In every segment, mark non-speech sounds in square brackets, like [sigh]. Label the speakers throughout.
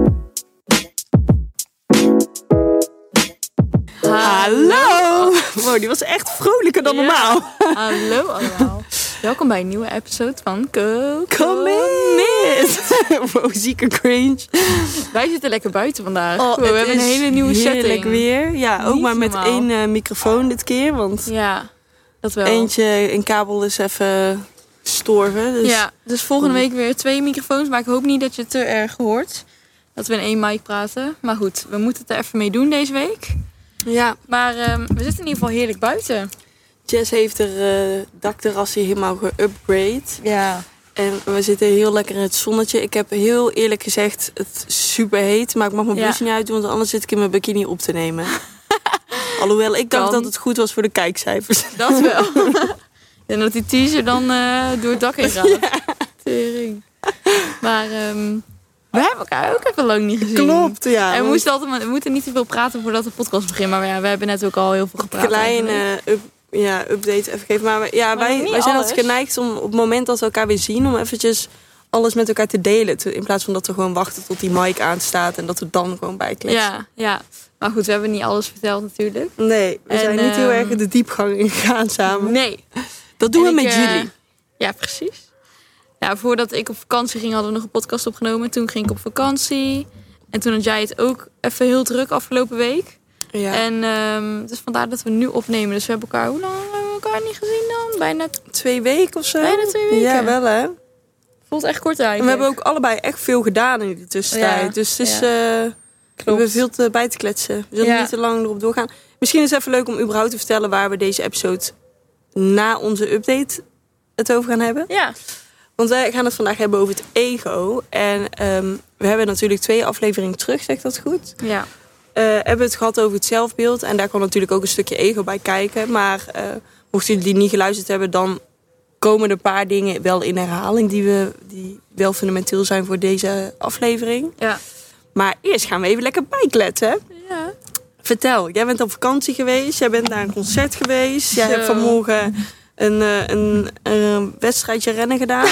Speaker 1: [laughs] Caro, die was echt vrolijker dan
Speaker 2: Ja.
Speaker 1: normaal.
Speaker 2: Hallo allemaal. Welkom bij een nieuwe episode van Coco.
Speaker 1: Kom in! [laughs] wow, zieke cringe.
Speaker 2: Wij zitten lekker buiten vandaag.
Speaker 1: Oh,
Speaker 2: we
Speaker 1: het
Speaker 2: hebben een
Speaker 1: is
Speaker 2: hele nieuwe
Speaker 1: Heerlijk
Speaker 2: setting.
Speaker 1: weer. Ja, ook
Speaker 2: Niet
Speaker 1: maar met
Speaker 2: normaal.
Speaker 1: één eh, microfoon dit keer. Want
Speaker 2: Ja, dat wel.
Speaker 1: eentje, een kabel is even storven. Dus
Speaker 2: Ja, dus volgende week weer twee microfoons. Maar ik hoop niet dat je het te erg hoort. Dat we in één mic praten. Maar goed, we moeten het er even mee doen deze week.
Speaker 1: ja,
Speaker 2: Maar ehm, we zitten in ieder geval heerlijk buiten.
Speaker 1: Jess heeft haar eh dakterrasje helemaal geupgrade.
Speaker 2: Ja.
Speaker 1: En we zitten heel lekker in het zonnetje. Ik heb heel eerlijk gezegd het super heet. Maar ik mag mijn
Speaker 2: Ja.
Speaker 1: blouseje niet uitdoen, want anders zit ik in mijn bikini op te
Speaker 2: [laughs]
Speaker 1: nemen. Alhoewel, ik dacht
Speaker 2: Kan.
Speaker 1: dat het goed was voor de
Speaker 2: [laughs]
Speaker 1: kijkcijfers.
Speaker 2: Dat wel. en dat die teaser dan eh, door het dak heen gaat. Tering. Maar ehm, we hebben elkaar ook even lang niet gezien.
Speaker 1: ja.
Speaker 2: En we,
Speaker 1: want
Speaker 2: moesten altijd, we moeten niet te veel praten voordat de podcast begint. Maar ja, we hebben net ook al heel veel gepraat. eigenlijk.
Speaker 1: kleine eh, up, ja, update even geven. Maar we- ja,
Speaker 2: Maar
Speaker 1: wij,
Speaker 2: niet
Speaker 1: wij zijn altijd
Speaker 2: alles.
Speaker 1: geneigd om op het moment dat we elkaar weer zien... om eventjes alles met elkaar te delen. Te- In plaats van dat we gewoon wachten tot die mic aanstaat... en dat we dan gewoon bijkletsen.
Speaker 2: Ja, ja. Maar goed, we hebben niet alles verteld natuurlijk.
Speaker 1: Nee, we
Speaker 2: En,
Speaker 1: zijn niet heel
Speaker 2: ehm,
Speaker 1: erg in de diepgang [laughs] ingegaan samen.
Speaker 2: Nee.
Speaker 1: Dat doen
Speaker 2: En
Speaker 1: we
Speaker 2: ik,
Speaker 1: met
Speaker 2: eh,
Speaker 1: jullie.
Speaker 2: Ja, precies. Ja, voordat ik op vakantie ging hadden we nog een podcast opgenomen. Toen ging ik op vakantie. En toen had jij het ook even heel druk afgelopen week.
Speaker 1: Ja.
Speaker 2: En ehm, dus vandaar dat we nu opnemen. Dus we hebben elkaar, hoe lang hebben we elkaar niet gezien dan? Bijna, het
Speaker 1: twee weken of zo.
Speaker 2: Bijna twee weken.
Speaker 1: Ja, wel hè.
Speaker 2: voelt echt kort
Speaker 1: En
Speaker 2: eigenlijk.
Speaker 1: we hebben ook allebei echt veel gedaan in de tussentijd.
Speaker 2: Ja,
Speaker 1: Dus het is...
Speaker 2: ja.
Speaker 1: eh, we hebben veel te bij te kletsen. We zullen
Speaker 2: Ja.
Speaker 1: niet te lang erop doorgaan. Misschien is het even leuk om überhaupt te vertellen... waar we deze episode na onze update het over gaan hebben.
Speaker 2: Ja,
Speaker 1: Want wij gaan het vandaag hebben over het ego. En ehm, we hebben natuurlijk twee afleveringen terug, zeg ik dat goed?
Speaker 2: ja.
Speaker 1: eh, hebben we het gehad over het zelfbeeld. En daar kwam natuurlijk ook een stukje ego bij kijken. Maar eh, mochten jullie die niet geluisterd hebben, dan komen er een paar dingen wel in herhaling die, we, die wel fundamenteel zijn voor deze aflevering.
Speaker 2: ja.
Speaker 1: Maar eerst gaan we even lekker bijkletsen.
Speaker 2: ja.
Speaker 1: Vertel, jij bent op vakantie geweest, jij bent naar een concert geweest, jij
Speaker 2: Zo.
Speaker 1: hebt vanmorgen een, eh, een, eh, wedstrijdje rennen gedaan.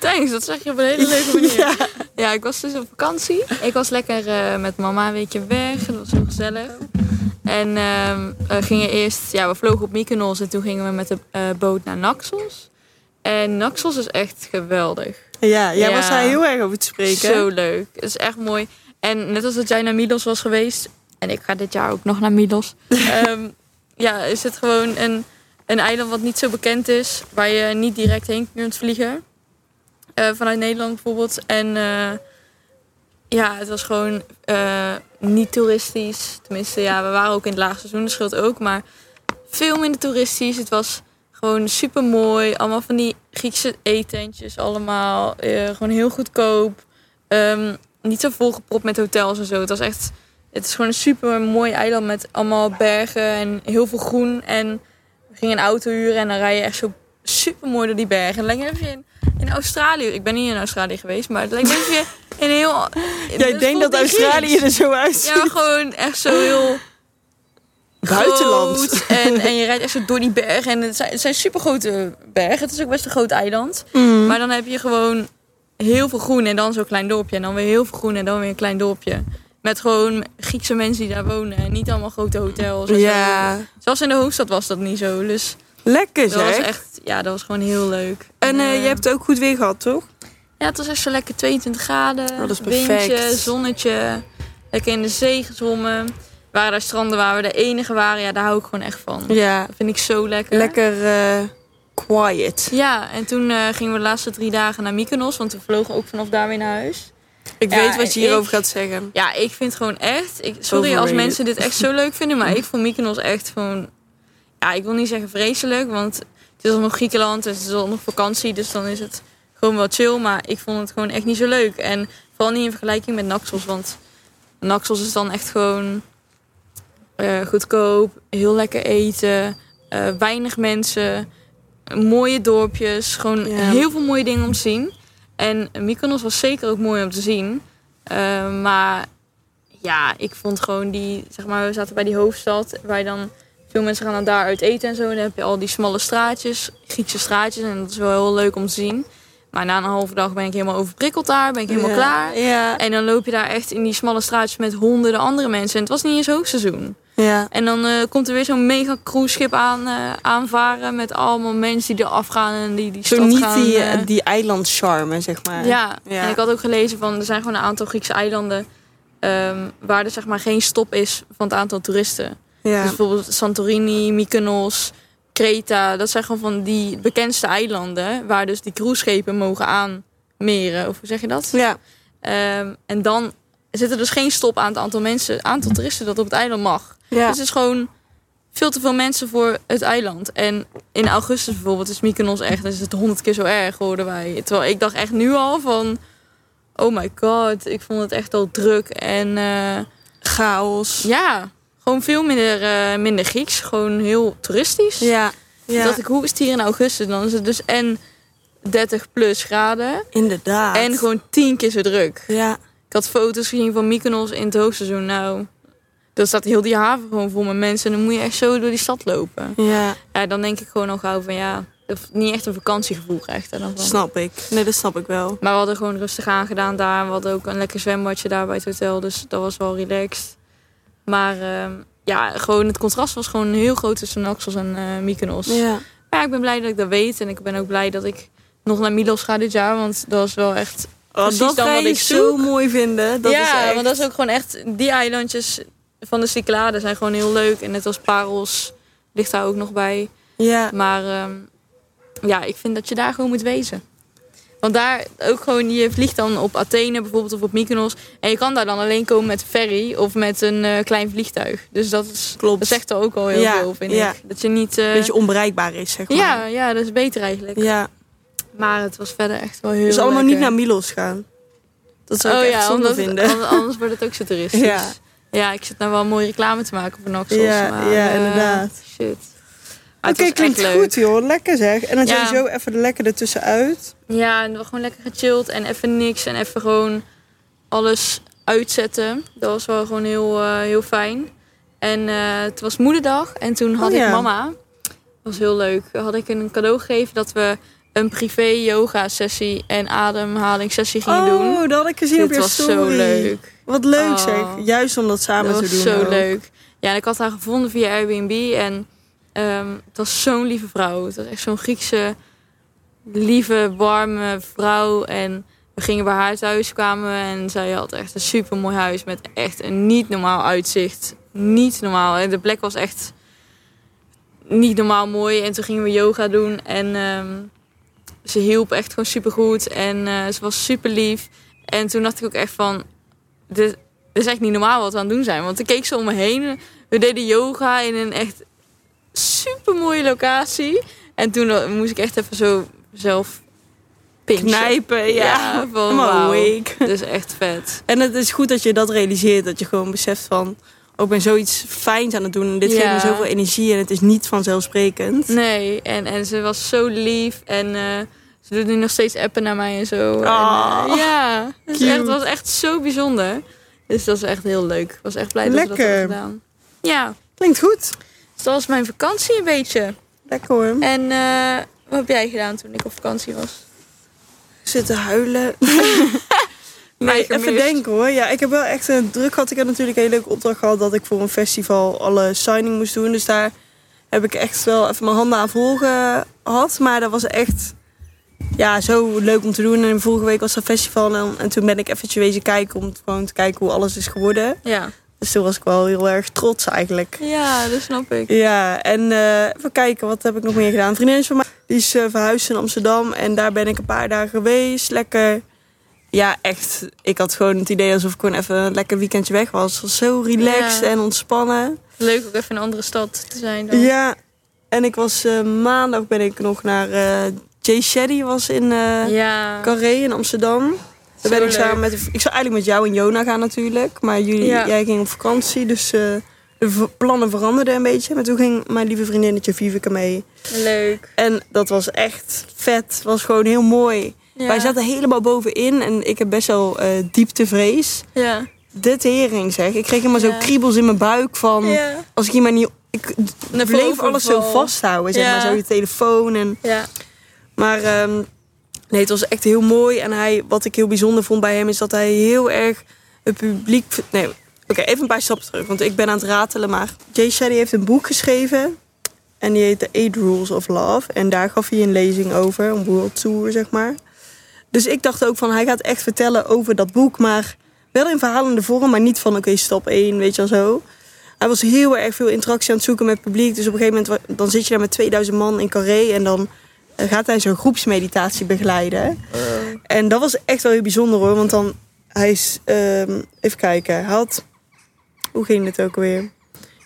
Speaker 2: Thanks, dat zeg je op een hele leuke manier.
Speaker 1: [laughs] Ja.
Speaker 2: Ja, ik was dus op vakantie. Ik was lekker eh, met mama een weekje weg. Dat was heel gezellig. En ehm, eh, gingen eerst, ja, we vlogen op Mykonos en toen gingen we met de eh, boot naar Naxos. En Naxos is echt geweldig.
Speaker 1: [laughs] ja, jij
Speaker 2: Ja.
Speaker 1: was daar heel erg over te spreken.
Speaker 2: Zo leuk. Het is echt mooi. En net als dat jij naar Milos was geweest, en ik ga dit jaar ook nog naar Milos. ehm, ja, is het gewoon een, een eiland wat niet zo bekend is, waar je niet direct heen kunt vliegen. Eh, vanuit Nederland bijvoorbeeld. En eh, ja, het was gewoon eh, niet toeristisch. Tenminste, ja, we waren ook in het laagseizoen, dat scheelt ook. Maar veel minder toeristisch. Het was gewoon super mooi. Allemaal van die Griekse eetentjes allemaal. Eh, gewoon heel goedkoop. Ehm, niet zo volgepropt met hotels en zo. Het was echt. Het is gewoon een super mooi eiland met allemaal bergen en heel veel groen. En we gingen een auto huren en dan rij je echt zo super mooi door die bergen. En lijkt me even in, in Australië. Ik ben niet in Australië geweest, maar het lijkt me even in heel.
Speaker 1: Jij
Speaker 2: het
Speaker 1: denkt
Speaker 2: voelt
Speaker 1: dat
Speaker 2: niet
Speaker 1: Australië
Speaker 2: Grieks.
Speaker 1: er zo uitziet.
Speaker 2: Ja, maar gewoon echt zo heel
Speaker 1: Buitenland.
Speaker 2: groot. En, en je rijdt echt zo door die bergen. En het zijn, het zijn super grote bergen. Het is ook best een groot eiland.
Speaker 1: Mm.
Speaker 2: Maar dan heb je gewoon heel veel groen en dan zo'n klein dorpje. En dan weer heel veel groen en dan weer een klein dorpje. Met gewoon Griekse mensen die daar wonen. En niet allemaal grote hotels. en zo.
Speaker 1: ja,
Speaker 2: Zelfs in de hoofdstad was dat niet zo. Dus
Speaker 1: lekker
Speaker 2: dat was
Speaker 1: zeg.
Speaker 2: echt, ja, dat was gewoon heel leuk.
Speaker 1: En eh,
Speaker 2: eh,
Speaker 1: je hebt het ook goed weer gehad, toch?
Speaker 2: Ja, het was echt zo lekker 22 graden.
Speaker 1: Oh, dat is perfect.
Speaker 2: Windje, zonnetje. Lekker in de zee gezwommen. We waren daar stranden waar we de enige waren. Ja, daar hou ik gewoon echt van.
Speaker 1: Ja,
Speaker 2: Dat vind ik zo lekker.
Speaker 1: lekker eh, quiet.
Speaker 2: Ja, en toen eh, gingen we de laatste drie dagen naar Mykonos. Want we vlogen ook vanaf daar weer naar huis.
Speaker 1: Ik
Speaker 2: Ja,
Speaker 1: weet wat je
Speaker 2: en
Speaker 1: hierover
Speaker 2: ik-
Speaker 1: gaat zeggen.
Speaker 2: Ja, ik vind gewoon echt... Ik, sorry als
Speaker 1: Overrated.
Speaker 2: mensen dit echt zo leuk vinden. Maar ik vond Mykonos echt gewoon... Ja, ik wil niet zeggen vreselijk. Want het is al nog Griekenland. Het is al nog vakantie. Dus dan is het gewoon wel chill. Maar ik vond het gewoon echt niet zo leuk. En vooral niet in vergelijking met Naxos. Want Naxos is dan echt gewoon... eh, goedkoop, heel lekker eten, eh, weinig mensen, mooie dorpjes, gewoon
Speaker 1: Ja.
Speaker 2: heel veel mooie dingen om te zien. En Mykonos was zeker ook mooi om te zien. Eh, maar ja, ik vond gewoon die, zeg maar, we zaten bij die hoofdstad, waar je dan veel mensen gaan dan daar uit eten en zo. En dan heb je al die smalle straatjes, Griekse straatjes, en dat is wel heel leuk om te zien. Maar na een halve dag ben ik helemaal overprikkeld daar, ben ik helemaal
Speaker 1: Ja.
Speaker 2: klaar.
Speaker 1: Ja.
Speaker 2: En dan loop je daar echt in die smalle straatjes met honderden andere mensen. En het was niet eens hoogseizoen.
Speaker 1: Ja.
Speaker 2: En dan eh, komt er weer zo'n mega cruiseschip aan, eh, aanvaren met allemaal mensen die eraf gaan en die die
Speaker 1: Zo
Speaker 2: stad
Speaker 1: niet
Speaker 2: gaan,
Speaker 1: die,
Speaker 2: eh,
Speaker 1: eh, die eilandcharme, zeg maar.
Speaker 2: ja.
Speaker 1: Ja.
Speaker 2: en ik had ook gelezen van er zijn gewoon een aantal Griekse eilanden ehm, waar er zeg maar geen stop is van het aantal toeristen.
Speaker 1: Ja.
Speaker 2: Dus bijvoorbeeld Santorini, Mykonos, Kreta. Dat zijn gewoon van die bekendste eilanden waar dus die cruiseschepen mogen aanmeren. Of hoe zeg je dat?
Speaker 1: ja.
Speaker 2: Ehm, en dan zit er dus geen stop aan het aantal mensen, aantal toeristen dat op het eiland mag.
Speaker 1: ja.
Speaker 2: Dus het is gewoon veel te veel mensen voor het eiland. En in augustus bijvoorbeeld is Mykonos echt, is het honderd keer zo erg, hoorden wij. Terwijl ik dacht echt nu al van, oh my god, ik vond het echt al druk. En eh,
Speaker 1: Chaos.
Speaker 2: ja, gewoon veel minder, eh, minder Grieks, gewoon heel toeristisch.
Speaker 1: Ja. Ja.
Speaker 2: Dat ik, hoe is het hier in augustus? Dan is het dus en 30 plus graden
Speaker 1: Inderdaad.
Speaker 2: en gewoon tien keer zo druk.
Speaker 1: Ja.
Speaker 2: Ik had foto's gezien van Mykonos in het hoogseizoen. Nou, dan staat heel die haven gewoon vol met mensen. En dan moet je echt zo door die stad lopen.
Speaker 1: Ja.
Speaker 2: Ja, dan denk ik gewoon al gauw van ja, of niet echt een vakantiegevoel krijgt. er Dan van.
Speaker 1: Snap ik. Nee, dat snap ik wel.
Speaker 2: Maar we hadden gewoon rustig aangedaan daar. We hadden ook een lekker zwembadje daar bij het hotel. Dus dat was wel relaxed. Maar ehm, ja, gewoon het contrast was gewoon heel groot tussen Naxos en eh Mykonos.
Speaker 1: Ja.
Speaker 2: Maar ja, ik ben blij dat ik dat weet. En ik ben ook blij dat ik nog naar Milos ga dit jaar. Want dat was wel echt Precies
Speaker 1: dat
Speaker 2: dan
Speaker 1: ga
Speaker 2: wat
Speaker 1: je
Speaker 2: ik
Speaker 1: zo
Speaker 2: zoek.
Speaker 1: mooi vinden. Dat
Speaker 2: ja,
Speaker 1: is echt...
Speaker 2: want dat is ook gewoon echt... Die eilandjes van de Cycladen zijn gewoon heel leuk. En net als Parels ligt daar ook nog bij.
Speaker 1: Ja.
Speaker 2: Maar ehm, ja, ik vind dat je daar gewoon moet wezen. Want daar ook gewoon... Je vliegt dan op Athene bijvoorbeeld of op Mykonos. En je kan daar dan alleen komen met ferry of met een eh, klein vliegtuig. Dus dat, is,
Speaker 1: Klopt.
Speaker 2: dat zegt er ook al heel
Speaker 1: Ja,
Speaker 2: veel, vind
Speaker 1: ja.
Speaker 2: ik. Dat je niet... eh,
Speaker 1: Een beetje onbereikbaar is, zeg maar.
Speaker 2: ja, ja, dat is beter eigenlijk.
Speaker 1: Ja.
Speaker 2: Maar het was verder echt wel heel
Speaker 1: Dus allemaal
Speaker 2: lekker.
Speaker 1: niet naar Milos gaan. Dat zou ik echt zonde
Speaker 2: Oh omdat- [laughs]
Speaker 1: vinden.
Speaker 2: an- anders wordt
Speaker 1: [laughs]
Speaker 2: het ook zo toeristisch.
Speaker 1: Ja.
Speaker 2: Ja. ik zit nou wel mooie reclame te maken voor Naxos.
Speaker 1: Ja,
Speaker 2: maar,
Speaker 1: ja,
Speaker 2: eh,
Speaker 1: inderdaad.
Speaker 2: shit. Maar Ah,
Speaker 1: Oké,
Speaker 2: het was echt
Speaker 1: klinkt
Speaker 2: leuk.
Speaker 1: goed joh. Lekker zeg. En dan
Speaker 2: Ja.
Speaker 1: sowieso even lekker ertussenuit.
Speaker 2: Ja, en we gewoon lekker gechilled en even niks en even gewoon alles uitzetten. Dat was wel gewoon heel, eh, heel fijn. En eh, het was moederdag en toen had
Speaker 1: Oh, ja.
Speaker 2: ik mama, dat was heel leuk, had ik een cadeau gegeven dat we een privé yoga sessie en ademhaling sessie gingen doen.
Speaker 1: Oh, dat had ik gezien op
Speaker 2: Dit
Speaker 1: je
Speaker 2: was
Speaker 1: story.
Speaker 2: zo leuk.
Speaker 1: Wat leuk
Speaker 2: Oh.
Speaker 1: zeg. Juist om dat samen
Speaker 2: dat
Speaker 1: te doen.
Speaker 2: was zo
Speaker 1: ook.
Speaker 2: leuk. Ja, en ik had haar gevonden via Airbnb. En ehm, het was zo'n lieve vrouw. Het was echt zo'n Griekse, lieve, warme vrouw. En we gingen bij haar thuis kwamen. we En zij had echt een super mooi huis met echt een niet normaal uitzicht. Niet normaal. En de plek was echt niet normaal mooi. En toen gingen we yoga doen. En ehm, ze hielp echt gewoon super goed. En eh, ze was super lief. En toen dacht ik ook echt van... Dit, dit is echt niet normaal wat we aan het doen zijn. Want ik keek ze om me heen. We deden yoga in een echt super mooie locatie. En toen eh, moest ik echt even zo zelf pinchen.
Speaker 1: Knijpen, ja.
Speaker 2: Ja, van
Speaker 1: [laughs] I'm
Speaker 2: wauw.
Speaker 1: awake.
Speaker 2: Dit is echt vet.
Speaker 1: En het is goed dat je dat realiseert. Dat je gewoon beseft van... Oh, ik ben zoiets fijns aan het doen. En dit
Speaker 2: Ja.
Speaker 1: geeft me zoveel energie. En het is niet vanzelfsprekend.
Speaker 2: Nee, en, en ze was zo lief. En eh, ze doet nu nog steeds appen naar mij en zo. En, eh,
Speaker 1: Ah,
Speaker 2: ja, het is
Speaker 1: cute.
Speaker 2: echt, was echt zo bijzonder. Dus dat is echt heel leuk. Ik was echt blij dat we dat
Speaker 1: Lekker.
Speaker 2: hebben gedaan. Ja,
Speaker 1: Klinkt goed.
Speaker 2: dus dat was mijn vakantie een beetje.
Speaker 1: Lekker hoor.
Speaker 2: En eh, wat heb jij gedaan toen ik op vakantie was?
Speaker 1: Zitten huilen. Nee,
Speaker 2: Mij
Speaker 1: even
Speaker 2: gemist.
Speaker 1: denken hoor. Ja, ik heb wel echt een druk gehad. Ik heb natuurlijk een hele leuke opdracht gehad dat ik voor een festival alle signing moest doen. Dus daar heb ik echt wel even mijn handen aan vol gehad. Maar dat was echt ja, zo leuk om te doen. En vorige week was dat festival en, en toen ben ik eventjes wezen kijken om gewoon te kijken hoe alles is geworden.
Speaker 2: Ja.
Speaker 1: Dus toen was ik wel heel erg trots eigenlijk.
Speaker 2: ja, dat snap ik.
Speaker 1: Ja, en eh even kijken, wat heb ik nog meer gedaan? Een vriendin van mij die is eh, verhuisd in Amsterdam en daar ben ik een paar dagen geweest. Lekker. Ja, echt. Ik had gewoon het idee alsof ik gewoon even een lekker weekendje weg was. Het was zo relaxed
Speaker 2: Ja.
Speaker 1: en ontspannen.
Speaker 2: Leuk ook even in een andere stad te zijn dan.
Speaker 1: Ja, en ik was eh, maandag ben ik nog naar eh Jay Shetty was in eh
Speaker 2: Ja.
Speaker 1: Carré in Amsterdam.
Speaker 2: Zo
Speaker 1: Daar ben ik
Speaker 2: leuk.
Speaker 1: samen met. Ik zou eigenlijk met jou en Jona gaan natuurlijk. Maar jullie,
Speaker 2: Ja.
Speaker 1: jij ging op vakantie. Dus eh, de v- plannen veranderden een beetje. Maar toen ging mijn lieve vriendinnetje Vivica mee.
Speaker 2: Leuk.
Speaker 1: En dat was echt vet. Was gewoon heel mooi.
Speaker 2: Ja.
Speaker 1: Wij zaten helemaal bovenin. En ik heb best wel eh, dieptevrees.
Speaker 2: Ja.
Speaker 1: De tering zeg. Ik kreeg helemaal
Speaker 2: Ja.
Speaker 1: zo kriebels in mijn buik van...
Speaker 2: Ja.
Speaker 1: Als ik hier maar niet... Ik
Speaker 2: Naar
Speaker 1: bleef
Speaker 2: boven
Speaker 1: alles zo
Speaker 2: val.
Speaker 1: vasthouden. Zeg
Speaker 2: Ja.
Speaker 1: maar zo je telefoon en...
Speaker 2: Ja.
Speaker 1: Maar ehm, nee, het was echt heel mooi. En hij, wat ik heel bijzonder vond bij hem is dat hij heel erg het publiek. Nee, Oké, even een paar stappen terug, want ik ben aan het ratelen. Maar Jay Shetty heeft een boek geschreven. En die heet The Eight Rules of Love. En daar gaf hij een lezing over, een world tour, zeg maar. Dus ik dacht ook van, hij gaat echt vertellen over dat boek. Maar wel in verhalende vorm, maar niet van, oké, stap één, weet je wel zo. Hij was heel erg veel interactie aan het zoeken met het publiek. Dus op een gegeven moment, wa- dan zit je daar met 2000 man in Carré. En dan eh, gaat hij zo'n groepsmeditatie begeleiden. En dat was echt wel heel bijzonder hoor. Want dan, hij is, ehm, even kijken, hij had, hoe ging het ook alweer?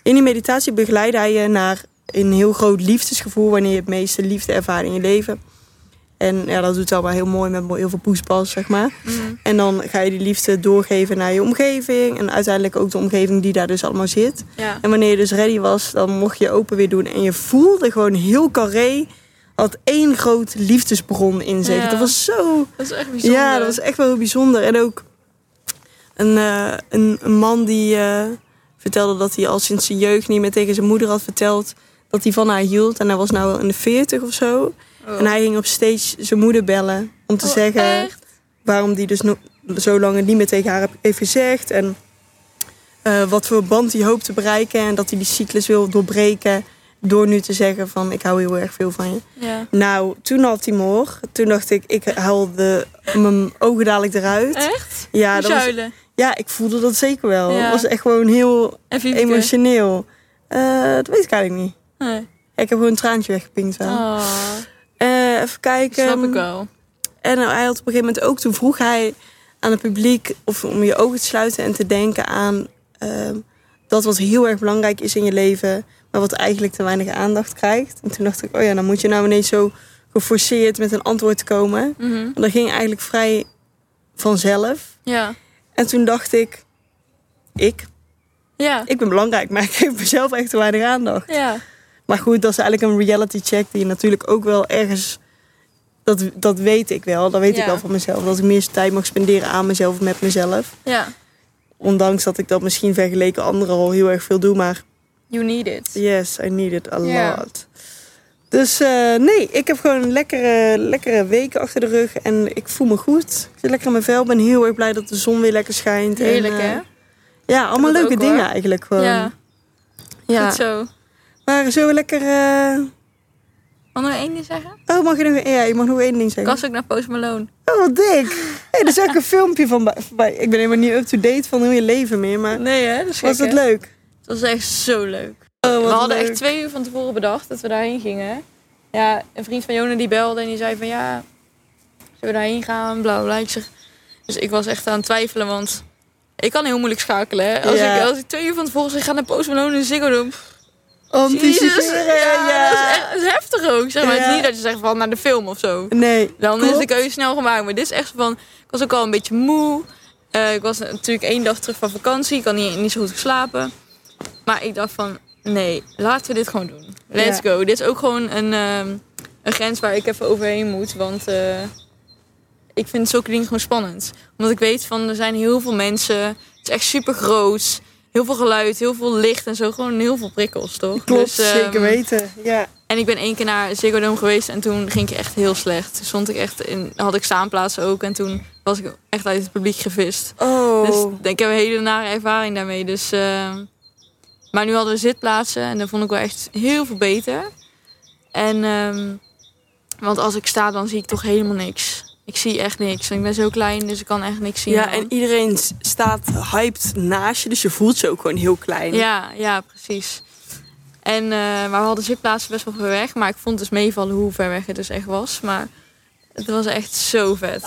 Speaker 1: In die meditatie begeleidde hij je naar een heel groot liefdesgevoel. Wanneer je het meeste liefde ervaart in je leven. En ja, dat doet hij allemaal heel mooi met heel veel poespas, zeg maar.
Speaker 2: Mm.
Speaker 1: En dan ga je die liefde doorgeven naar je omgeving. En uiteindelijk ook de omgeving die daar dus allemaal zit.
Speaker 2: Ja.
Speaker 1: En wanneer je dus ready was, dan mocht je open weer doen. En je voelde gewoon heel carré. Had één groot liefdesbron in zich.
Speaker 2: Ja.
Speaker 1: Dat was zo.
Speaker 2: Dat is echt bijzonder.
Speaker 1: Ja, dat was echt wel heel bijzonder. En ook een, eh, een, een man die eh, vertelde dat hij al sinds zijn jeugd niet meer tegen zijn moeder had verteld dat hij van haar hield. En hij was nou in de 40 of zo.
Speaker 2: Oh.
Speaker 1: En hij ging op steeds zijn moeder bellen om te
Speaker 2: Oh,
Speaker 1: zeggen
Speaker 2: echt?
Speaker 1: waarom die dus no- zo lang het niet meer tegen haar heb- heeft gezegd. En eh, wat voor band hij hoopt te bereiken. En dat hij die cyclus wil doorbreken. Door nu te zeggen van ik hou heel erg veel van je.
Speaker 2: Ja.
Speaker 1: Nou, toen had hij me hoor. Toen dacht ik, ik haal de, mijn ogen dadelijk eruit.
Speaker 2: Echt?
Speaker 1: Ja,
Speaker 2: Die
Speaker 1: dat was,
Speaker 2: zuilen.
Speaker 1: ja, ik voelde dat zeker wel.
Speaker 2: Ja.
Speaker 1: Het was echt gewoon heel
Speaker 2: En Fiepke.
Speaker 1: emotioneel. Eh, dat weet ik eigenlijk niet.
Speaker 2: Nee.
Speaker 1: Ik heb gewoon een traantje weggepinkt wel.
Speaker 2: Oh,
Speaker 1: Eh, even
Speaker 2: dat
Speaker 1: kijken.
Speaker 2: snap ik wel.
Speaker 1: En nou, hij had op een gegeven moment ook, toen vroeg hij aan het publiek of om je ogen te sluiten en te denken aan ehm, dat wat heel erg belangrijk is in je leven, maar wat eigenlijk te weinig aandacht krijgt. En toen dacht ik, oh ja, dan moet je nou ineens zo geforceerd met een antwoord komen.
Speaker 2: Mhm.
Speaker 1: En dat ging eigenlijk vrij vanzelf.
Speaker 2: Ja.
Speaker 1: En toen dacht ik, ik,
Speaker 2: Ja.
Speaker 1: ik ben belangrijk, maar [laughs] ik geef mezelf echt te weinig aandacht.
Speaker 2: Ja.
Speaker 1: Maar goed, dat is eigenlijk een reality check die je natuurlijk ook wel ergens. Dat, dat weet ik wel. Dat weet
Speaker 2: Ja.
Speaker 1: ik wel van mezelf. Dat ik meer tijd mag spenderen aan mezelf met mezelf.
Speaker 2: Ja.
Speaker 1: Ondanks dat ik dat misschien vergeleken anderen al heel erg veel doe. Maar
Speaker 2: You need it.
Speaker 1: yes, I need it a
Speaker 2: Ja.
Speaker 1: lot. Dus eh, nee, ik heb gewoon een lekkere, lekkere weken achter de rug. En ik voel me goed. Ik zit lekker in mijn vel. Ik ben heel erg blij dat de zon weer lekker schijnt. En,
Speaker 2: Heerlijk,
Speaker 1: eh,
Speaker 2: hè?
Speaker 1: Ja, allemaal
Speaker 2: Dat
Speaker 1: leuke
Speaker 2: ook,
Speaker 1: dingen
Speaker 2: hoor.
Speaker 1: eigenlijk gewoon.
Speaker 2: ja.
Speaker 1: Ja.
Speaker 2: Goed zo.
Speaker 1: Maar zo lekker... eh,
Speaker 2: Mag nog één ding zeggen?
Speaker 1: Oh, mag je nog... Ja, je mag nog één ding zeggen.
Speaker 2: Ik was ook naar Post Malone.
Speaker 1: Oh, wat dik. Hé, er is ook een filmpje van bij- voorbij. Ik ben helemaal niet up-to-date van hoe je leven meer, maar
Speaker 2: Nee, hè? Dat is
Speaker 1: was
Speaker 2: gek,
Speaker 1: het
Speaker 2: hè?
Speaker 1: leuk?
Speaker 2: Het was echt zo leuk.
Speaker 1: Oh,
Speaker 2: We
Speaker 1: wat
Speaker 2: hadden
Speaker 1: leuk.
Speaker 2: echt twee uur van tevoren bedacht dat we daarheen gingen. Ja, een vriend van Jona die belde en die zei van ja, zullen we daarheen gaan, bla bla, bla. Ik zeg, dus ik was echt aan het twijfelen, want ik kan heel moeilijk schakelen. Hè? Als,
Speaker 1: Ja.
Speaker 2: ik, als ik twee uur van tevoren zeg, ga naar Post Malone en Ziggo Dome. Jezus,
Speaker 1: Anticiperen, ja.
Speaker 2: ja, Dat, is echt, dat is heftig ook. Zeg maar. Het
Speaker 1: Ja.
Speaker 2: is niet dat je zegt van naar de film of zo.
Speaker 1: Nee.
Speaker 2: Dan is de
Speaker 1: klopt.
Speaker 2: keuze snel gemaakt. Maar dit is echt zo van, ik was ook al een beetje moe. Eh, ik was natuurlijk één dag terug van vakantie. Ik had niet, niet zo goed geslapen. Maar ik dacht van, nee, laten we dit gewoon doen. Let's go. Dit is ook gewoon een, ehm, een grens waar ik even overheen moet. Want eh, ik vind zulke dingen gewoon spannend. Omdat ik weet van, er zijn heel veel mensen. Het is echt super groot. Heel veel geluid, heel veel licht en zo. Gewoon heel veel prikkels, toch?
Speaker 1: Klopt,
Speaker 2: Dus, ehm,
Speaker 1: zeker weten. Ja.
Speaker 2: en ik ben één keer naar Ziggo Dome geweest en toen ging ik echt heel slecht. Toen stond ik echt in, had ik staanplaatsen ook en toen was ik echt uit het publiek gevist.
Speaker 1: Oh.
Speaker 2: Dus ik denk, ik heb een hele nare ervaring daarmee. Dus, eh, maar nu hadden we zitplaatsen en dat vond ik wel echt heel veel beter. En, ehm, want als ik sta, dan zie ik toch helemaal niks. Ik zie echt niks. En ik ben zo klein, dus ik kan echt niks zien.
Speaker 1: ja,
Speaker 2: dan.
Speaker 1: en iedereen s- staat hyped naast je, dus je voelt je ook gewoon heel klein.
Speaker 2: Ja, ja, precies. En, eh, maar we hadden zitplaatsen best wel ver weg. Maar ik vond dus meevallen hoe ver weg het dus echt was. Maar het was echt zo vet.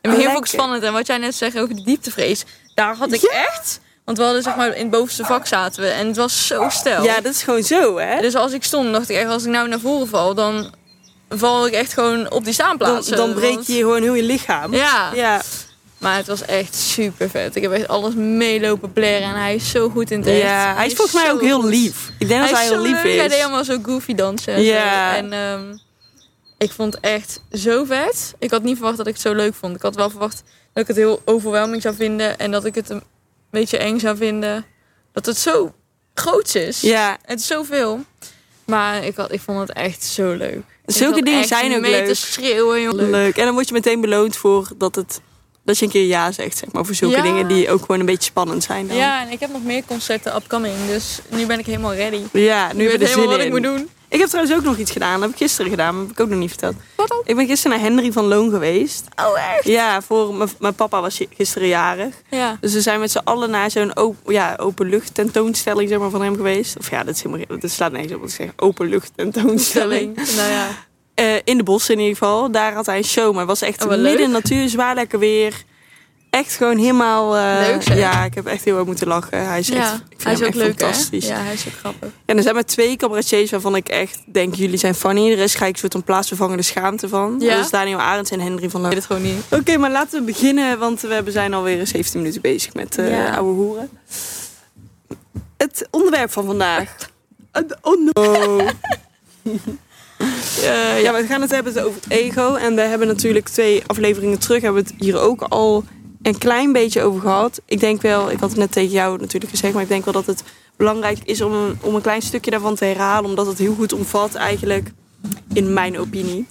Speaker 2: En heel
Speaker 1: Lekker.
Speaker 2: vond ik spannend. En wat jij net zei over de dieptevrees. Daar had ik
Speaker 1: Ja.
Speaker 2: echt... Want we hadden zeg maar in het bovenste vak zaten we. En het was zo stijl.
Speaker 1: Ja, dat is gewoon zo, hè?
Speaker 2: Dus als ik stond, dacht ik echt... Als ik nou naar voren val, dan val ik echt gewoon op die
Speaker 1: Dan,
Speaker 2: staanplaatsen.
Speaker 1: dan breek
Speaker 2: Want-
Speaker 1: je gewoon heel je lichaam.
Speaker 2: Ja.
Speaker 1: Ja.
Speaker 2: Maar het was echt super vet. Ik heb echt alles meelopen blaren. En hij is zo goed in het echt.
Speaker 1: Ja, hij is volgens mij
Speaker 2: zo
Speaker 1: ook heel
Speaker 2: goed.
Speaker 1: lief. Ik denk dat hij heel
Speaker 2: zo
Speaker 1: lief
Speaker 2: leuk. Hij deed
Speaker 1: is.
Speaker 2: allemaal zo goofy dansen. en zo.
Speaker 1: Ja.
Speaker 2: En ehm, ik vond het echt zo vet. Ik had niet verwacht dat ik het zo leuk vond. Ik had wel verwacht dat ik het heel overwhelming zou vinden. En dat ik het een beetje eng zou vinden. Dat het zo groot is.
Speaker 1: Ja,
Speaker 2: Het is zoveel. Maar ik, had, ik vond het echt zo leuk. Ik
Speaker 1: Zulke
Speaker 2: zat
Speaker 1: dingen
Speaker 2: echt
Speaker 1: zijn ook
Speaker 2: mee
Speaker 1: leuk.
Speaker 2: te schreeuwen, joh.
Speaker 1: leuk. En dan word je meteen beloond voor dat het dat je een keer ja zegt, zeg maar, voor zulke
Speaker 2: Ja.
Speaker 1: dingen die ook gewoon een beetje spannend zijn dan.
Speaker 2: Ja, en ik heb nog meer concerten upcoming. Dus nu ben ik helemaal ready.
Speaker 1: Ja, nu
Speaker 2: ik
Speaker 1: heb
Speaker 2: weet
Speaker 1: ik
Speaker 2: helemaal
Speaker 1: er zin
Speaker 2: wat
Speaker 1: in.
Speaker 2: ik moet doen.
Speaker 1: Ik heb trouwens ook nog iets gedaan. Dat heb ik gisteren gedaan, maar dat heb ik ook nog niet verteld.
Speaker 2: Wat dan?
Speaker 1: Ik ben gisteren naar Henry van Loon geweest.
Speaker 2: Oh, echt?
Speaker 1: Ja, voor mijn- mijn papa was gisteren jarig.
Speaker 2: Ja.
Speaker 1: Dus we zijn met z'n allen naar zo'n open, ja, openlucht tentoonstelling zeg maar, van hem geweest. Of ja, dat, is helemaal, dat slaat niks op wat ik zeg. Openlucht tentoonstelling.
Speaker 2: Stelling. Nou ja.
Speaker 1: Eh, in de bossen in ieder geval. Daar had hij een show. Maar het was echt
Speaker 2: Oh, wat
Speaker 1: midden
Speaker 2: leuk.
Speaker 1: in de natuur, zwaar lekker weer. Echt gewoon helemaal... eh,
Speaker 2: Leuk, zeg.
Speaker 1: Ja, ik heb echt heel erg moeten lachen. Hij is, Dus echt,
Speaker 2: ja.
Speaker 1: ik vind
Speaker 2: Hij is
Speaker 1: hem
Speaker 2: ook
Speaker 1: echt
Speaker 2: leuk, hè?
Speaker 1: fantastisch.
Speaker 2: Ja, hij is ook grappig.
Speaker 1: En er zijn maar twee cabaretiers waarvan ik echt denk, jullie zijn funny. De rest ga ik een soort van plaatsvervangende schaamte van.
Speaker 2: Ja?
Speaker 1: Dat is Daniel Arends en Henry van
Speaker 2: Ik
Speaker 1: Loon.
Speaker 2: weet het gewoon niet.
Speaker 1: Oké, maar laten we beginnen, want we hebben- zijn alweer 17 minuten bezig met eh
Speaker 2: Ja.
Speaker 1: oude hoeren. Het onderwerp van vandaag. [laughs] Het onder- Oh. [laughs] Eh, ja, we gaan het hebben over het ego. En we hebben natuurlijk twee afleveringen terug, hebben we het hier ook al een klein beetje over gehad. Ik denk wel, ik had het net tegen jou natuurlijk gezegd, maar ik denk wel dat het belangrijk is om een, om een klein stukje daarvan te herhalen, omdat het heel goed omvat eigenlijk, in mijn opinie,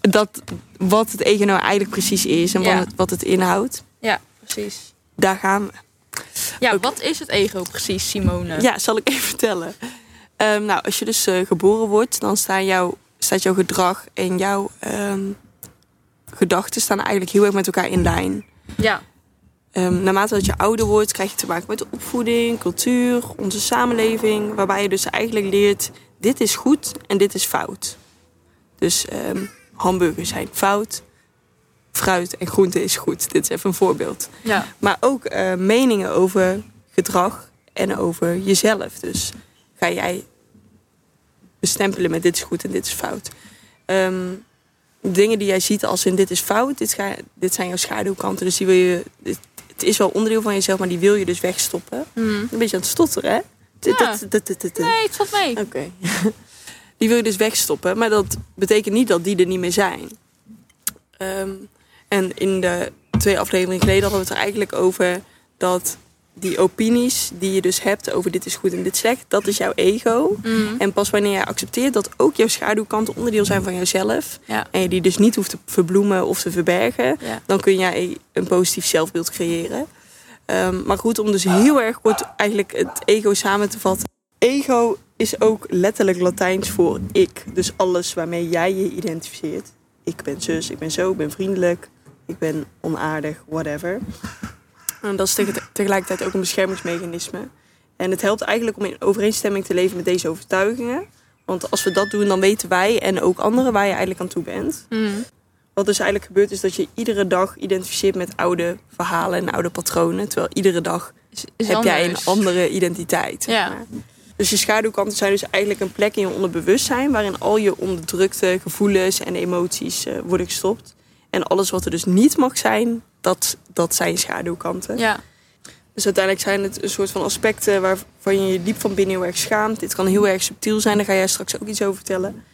Speaker 1: dat wat het ego nou eigenlijk precies is en
Speaker 2: Ja.
Speaker 1: wat, het, wat het inhoudt.
Speaker 2: Ja, precies.
Speaker 1: Daar gaan we.
Speaker 2: Ja,
Speaker 1: Oké.
Speaker 2: wat is het ego precies, Simone?
Speaker 1: Ja, zal ik even [laughs] vertellen. Ehm, nou, als je dus eh, geboren wordt, dan staan jouw, staat jouw gedrag en jouw ehm, gedachten staan eigenlijk heel erg met elkaar in lijn.
Speaker 2: Ja.
Speaker 1: Ehm, naarmate dat je ouder wordt, krijg je te maken met de opvoeding, cultuur, onze samenleving. Waarbij je dus eigenlijk leert, dit is goed en dit is fout. Dus ehm, hamburgers zijn fout, fruit en groente is goed. Dit is even een voorbeeld.
Speaker 2: Ja.
Speaker 1: Maar ook eh, meningen over gedrag en over jezelf. Dus ga jij bestempelen met dit is goed en dit is fout. Ehm, dingen die jij ziet als in dit is fout, dit, ga, dit zijn jouw schaduwkanten. Dus die wil je, dit- het is wel onderdeel van jezelf, maar die wil je dus wegstoppen.
Speaker 2: Hm.
Speaker 1: Een beetje aan het stotteren, hè? Dit-
Speaker 2: Ja.
Speaker 1: dit- dit- dit- dit- dit.
Speaker 2: Nee, het valt mee.
Speaker 1: Oké. [laughs] Die wil je dus wegstoppen, maar dat betekent niet dat die er niet meer zijn. Ehm, en in de twee afleveringen geleden hadden we het er eigenlijk over dat die opinies die je dus hebt over dit is goed en dit is slecht, dat is jouw ego.
Speaker 2: Hm.
Speaker 1: En pas wanneer jij accepteert dat ook jouw schaduwkanten onderdeel zijn van jouzelf,
Speaker 2: Ja.
Speaker 1: en je die dus niet hoeft te verbloemen of te verbergen,
Speaker 2: Ja.
Speaker 1: dan kun jij een positief zelfbeeld creëren. Ehm, maar goed, om dus heel erg kort eigenlijk het ego samen te vatten. Ego is ook letterlijk Latijns voor ik. Dus alles waarmee jij je identificeert. Ik ben zus, ik ben zo, ik ben vriendelijk, ik ben onaardig, whatever. En dat is tege- tegelijkertijd ook een beschermingsmechanisme. En het helpt eigenlijk om in overeenstemming te leven met deze overtuigingen. Want als we dat doen, dan weten wij en ook anderen waar je eigenlijk aan toe bent.
Speaker 2: Hm.
Speaker 1: Wat dus eigenlijk gebeurt is dat je iedere dag identificeert met oude verhalen en oude patronen. Terwijl iedere dag
Speaker 2: Is, is
Speaker 1: heb jij een
Speaker 2: anders.
Speaker 1: andere identiteit. zeg
Speaker 2: Ja.
Speaker 1: maar. Dus je schaduwkanten zijn dus eigenlijk een plek in je onderbewustzijn... waarin al je onderdrukte gevoelens en emoties eh, worden gestopt. En alles wat er dus niet mag zijn, dat, dat zijn je schaduwkanten.
Speaker 2: Ja.
Speaker 1: Dus uiteindelijk zijn het een soort van aspecten waarvan je je diep van binnen heel erg schaamt. Dit kan heel erg subtiel zijn, daar ga jij straks ook iets over vertellen.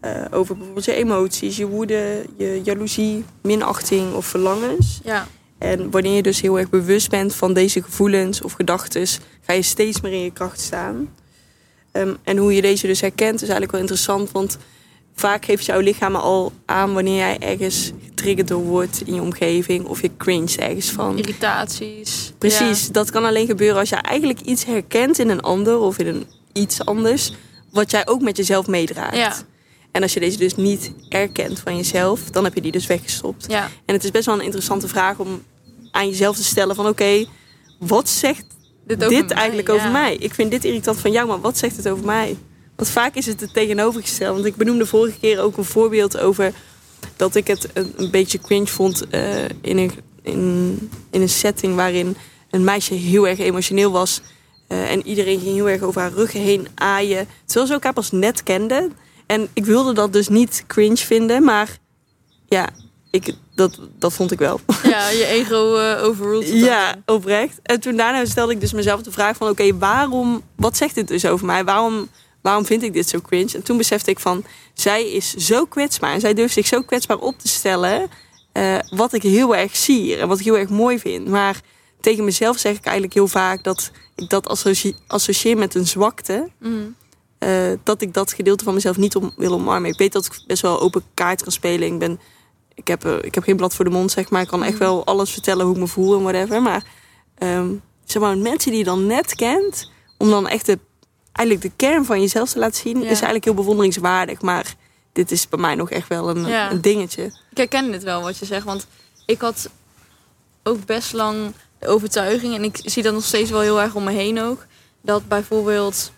Speaker 1: Eh, over bijvoorbeeld je emoties, je woede, je jaloezie, minachting of verlangens.
Speaker 2: Ja.
Speaker 1: En wanneer je dus heel erg bewust bent van deze gevoelens of gedachten, ga je steeds meer in je kracht staan. Ehm, en hoe je deze dus herkent is eigenlijk wel interessant, want vaak geeft jouw lichaam al aan wanneer jij ergens getriggerd door wordt in je omgeving of je cringe ergens van.
Speaker 2: Irritaties.
Speaker 1: Precies, dat kan alleen gebeuren als je eigenlijk iets herkent in een ander of in een iets anders, wat jij ook met jezelf meedraagt.
Speaker 2: Ja.
Speaker 1: En als je deze dus niet erkent van jezelf, dan heb je die dus weggestopt.
Speaker 2: Ja.
Speaker 1: En het is best wel een interessante vraag om aan jezelf te stellen van oké, wat zegt dit,
Speaker 2: over mij,
Speaker 1: eigenlijk
Speaker 2: ja.
Speaker 1: over mij? Ik vind dit irritant van jou, maar wat zegt het over mij? Want vaak is het het tegenovergestelde. Want ik benoemde vorige keer ook een voorbeeld over dat ik het een, een beetje cringe vond eh, in, een, in, in een setting waarin een meisje heel erg emotioneel was. eh, en iedereen ging heel erg over haar rug heen aaien. Terwijl ze elkaar pas net kenden. En ik wilde dat dus niet cringe vinden, maar ja, ik, dat, dat vond ik wel.
Speaker 2: Ja, je ego eh overruled. het
Speaker 1: Ja, oprecht. En toen daarna stelde ik dus mezelf de vraag van... oké, waarom... wat zegt dit dus over mij? Waarom, waarom vind ik dit zo cringe? En toen besefte ik van... zij is zo kwetsbaar. En zij durft zich zo kwetsbaar op te stellen... eh, wat ik heel erg zie en wat ik heel erg mooi vind. Maar tegen mezelf zeg ik eigenlijk heel vaak... dat ik dat associe- associeer met een zwakte...
Speaker 2: dan. Mhm.
Speaker 1: eh, dat ik dat gedeelte van mezelf niet om, wil omarmen. Ik weet dat ik best wel open kaart kan spelen. Ik ben ik heb, eh, ik heb geen blad voor de mond, zeg maar. Ik kan
Speaker 2: Mm.
Speaker 1: echt wel alles vertellen hoe ik me voel en whatever. Maar ehm, zeg maar, mensen die je dan net kent, om dan echt de, eigenlijk de kern van jezelf te laten zien,
Speaker 2: Ja.
Speaker 1: is eigenlijk heel bewonderingswaardig. Maar dit is bij mij nog echt wel een,
Speaker 2: Ja.
Speaker 1: een dingetje.
Speaker 2: Ik herken dit wel wat je zegt, want ik had ook best lang de overtuiging, en ik zie dat nog steeds wel heel erg om me heen ook, dat bijvoorbeeld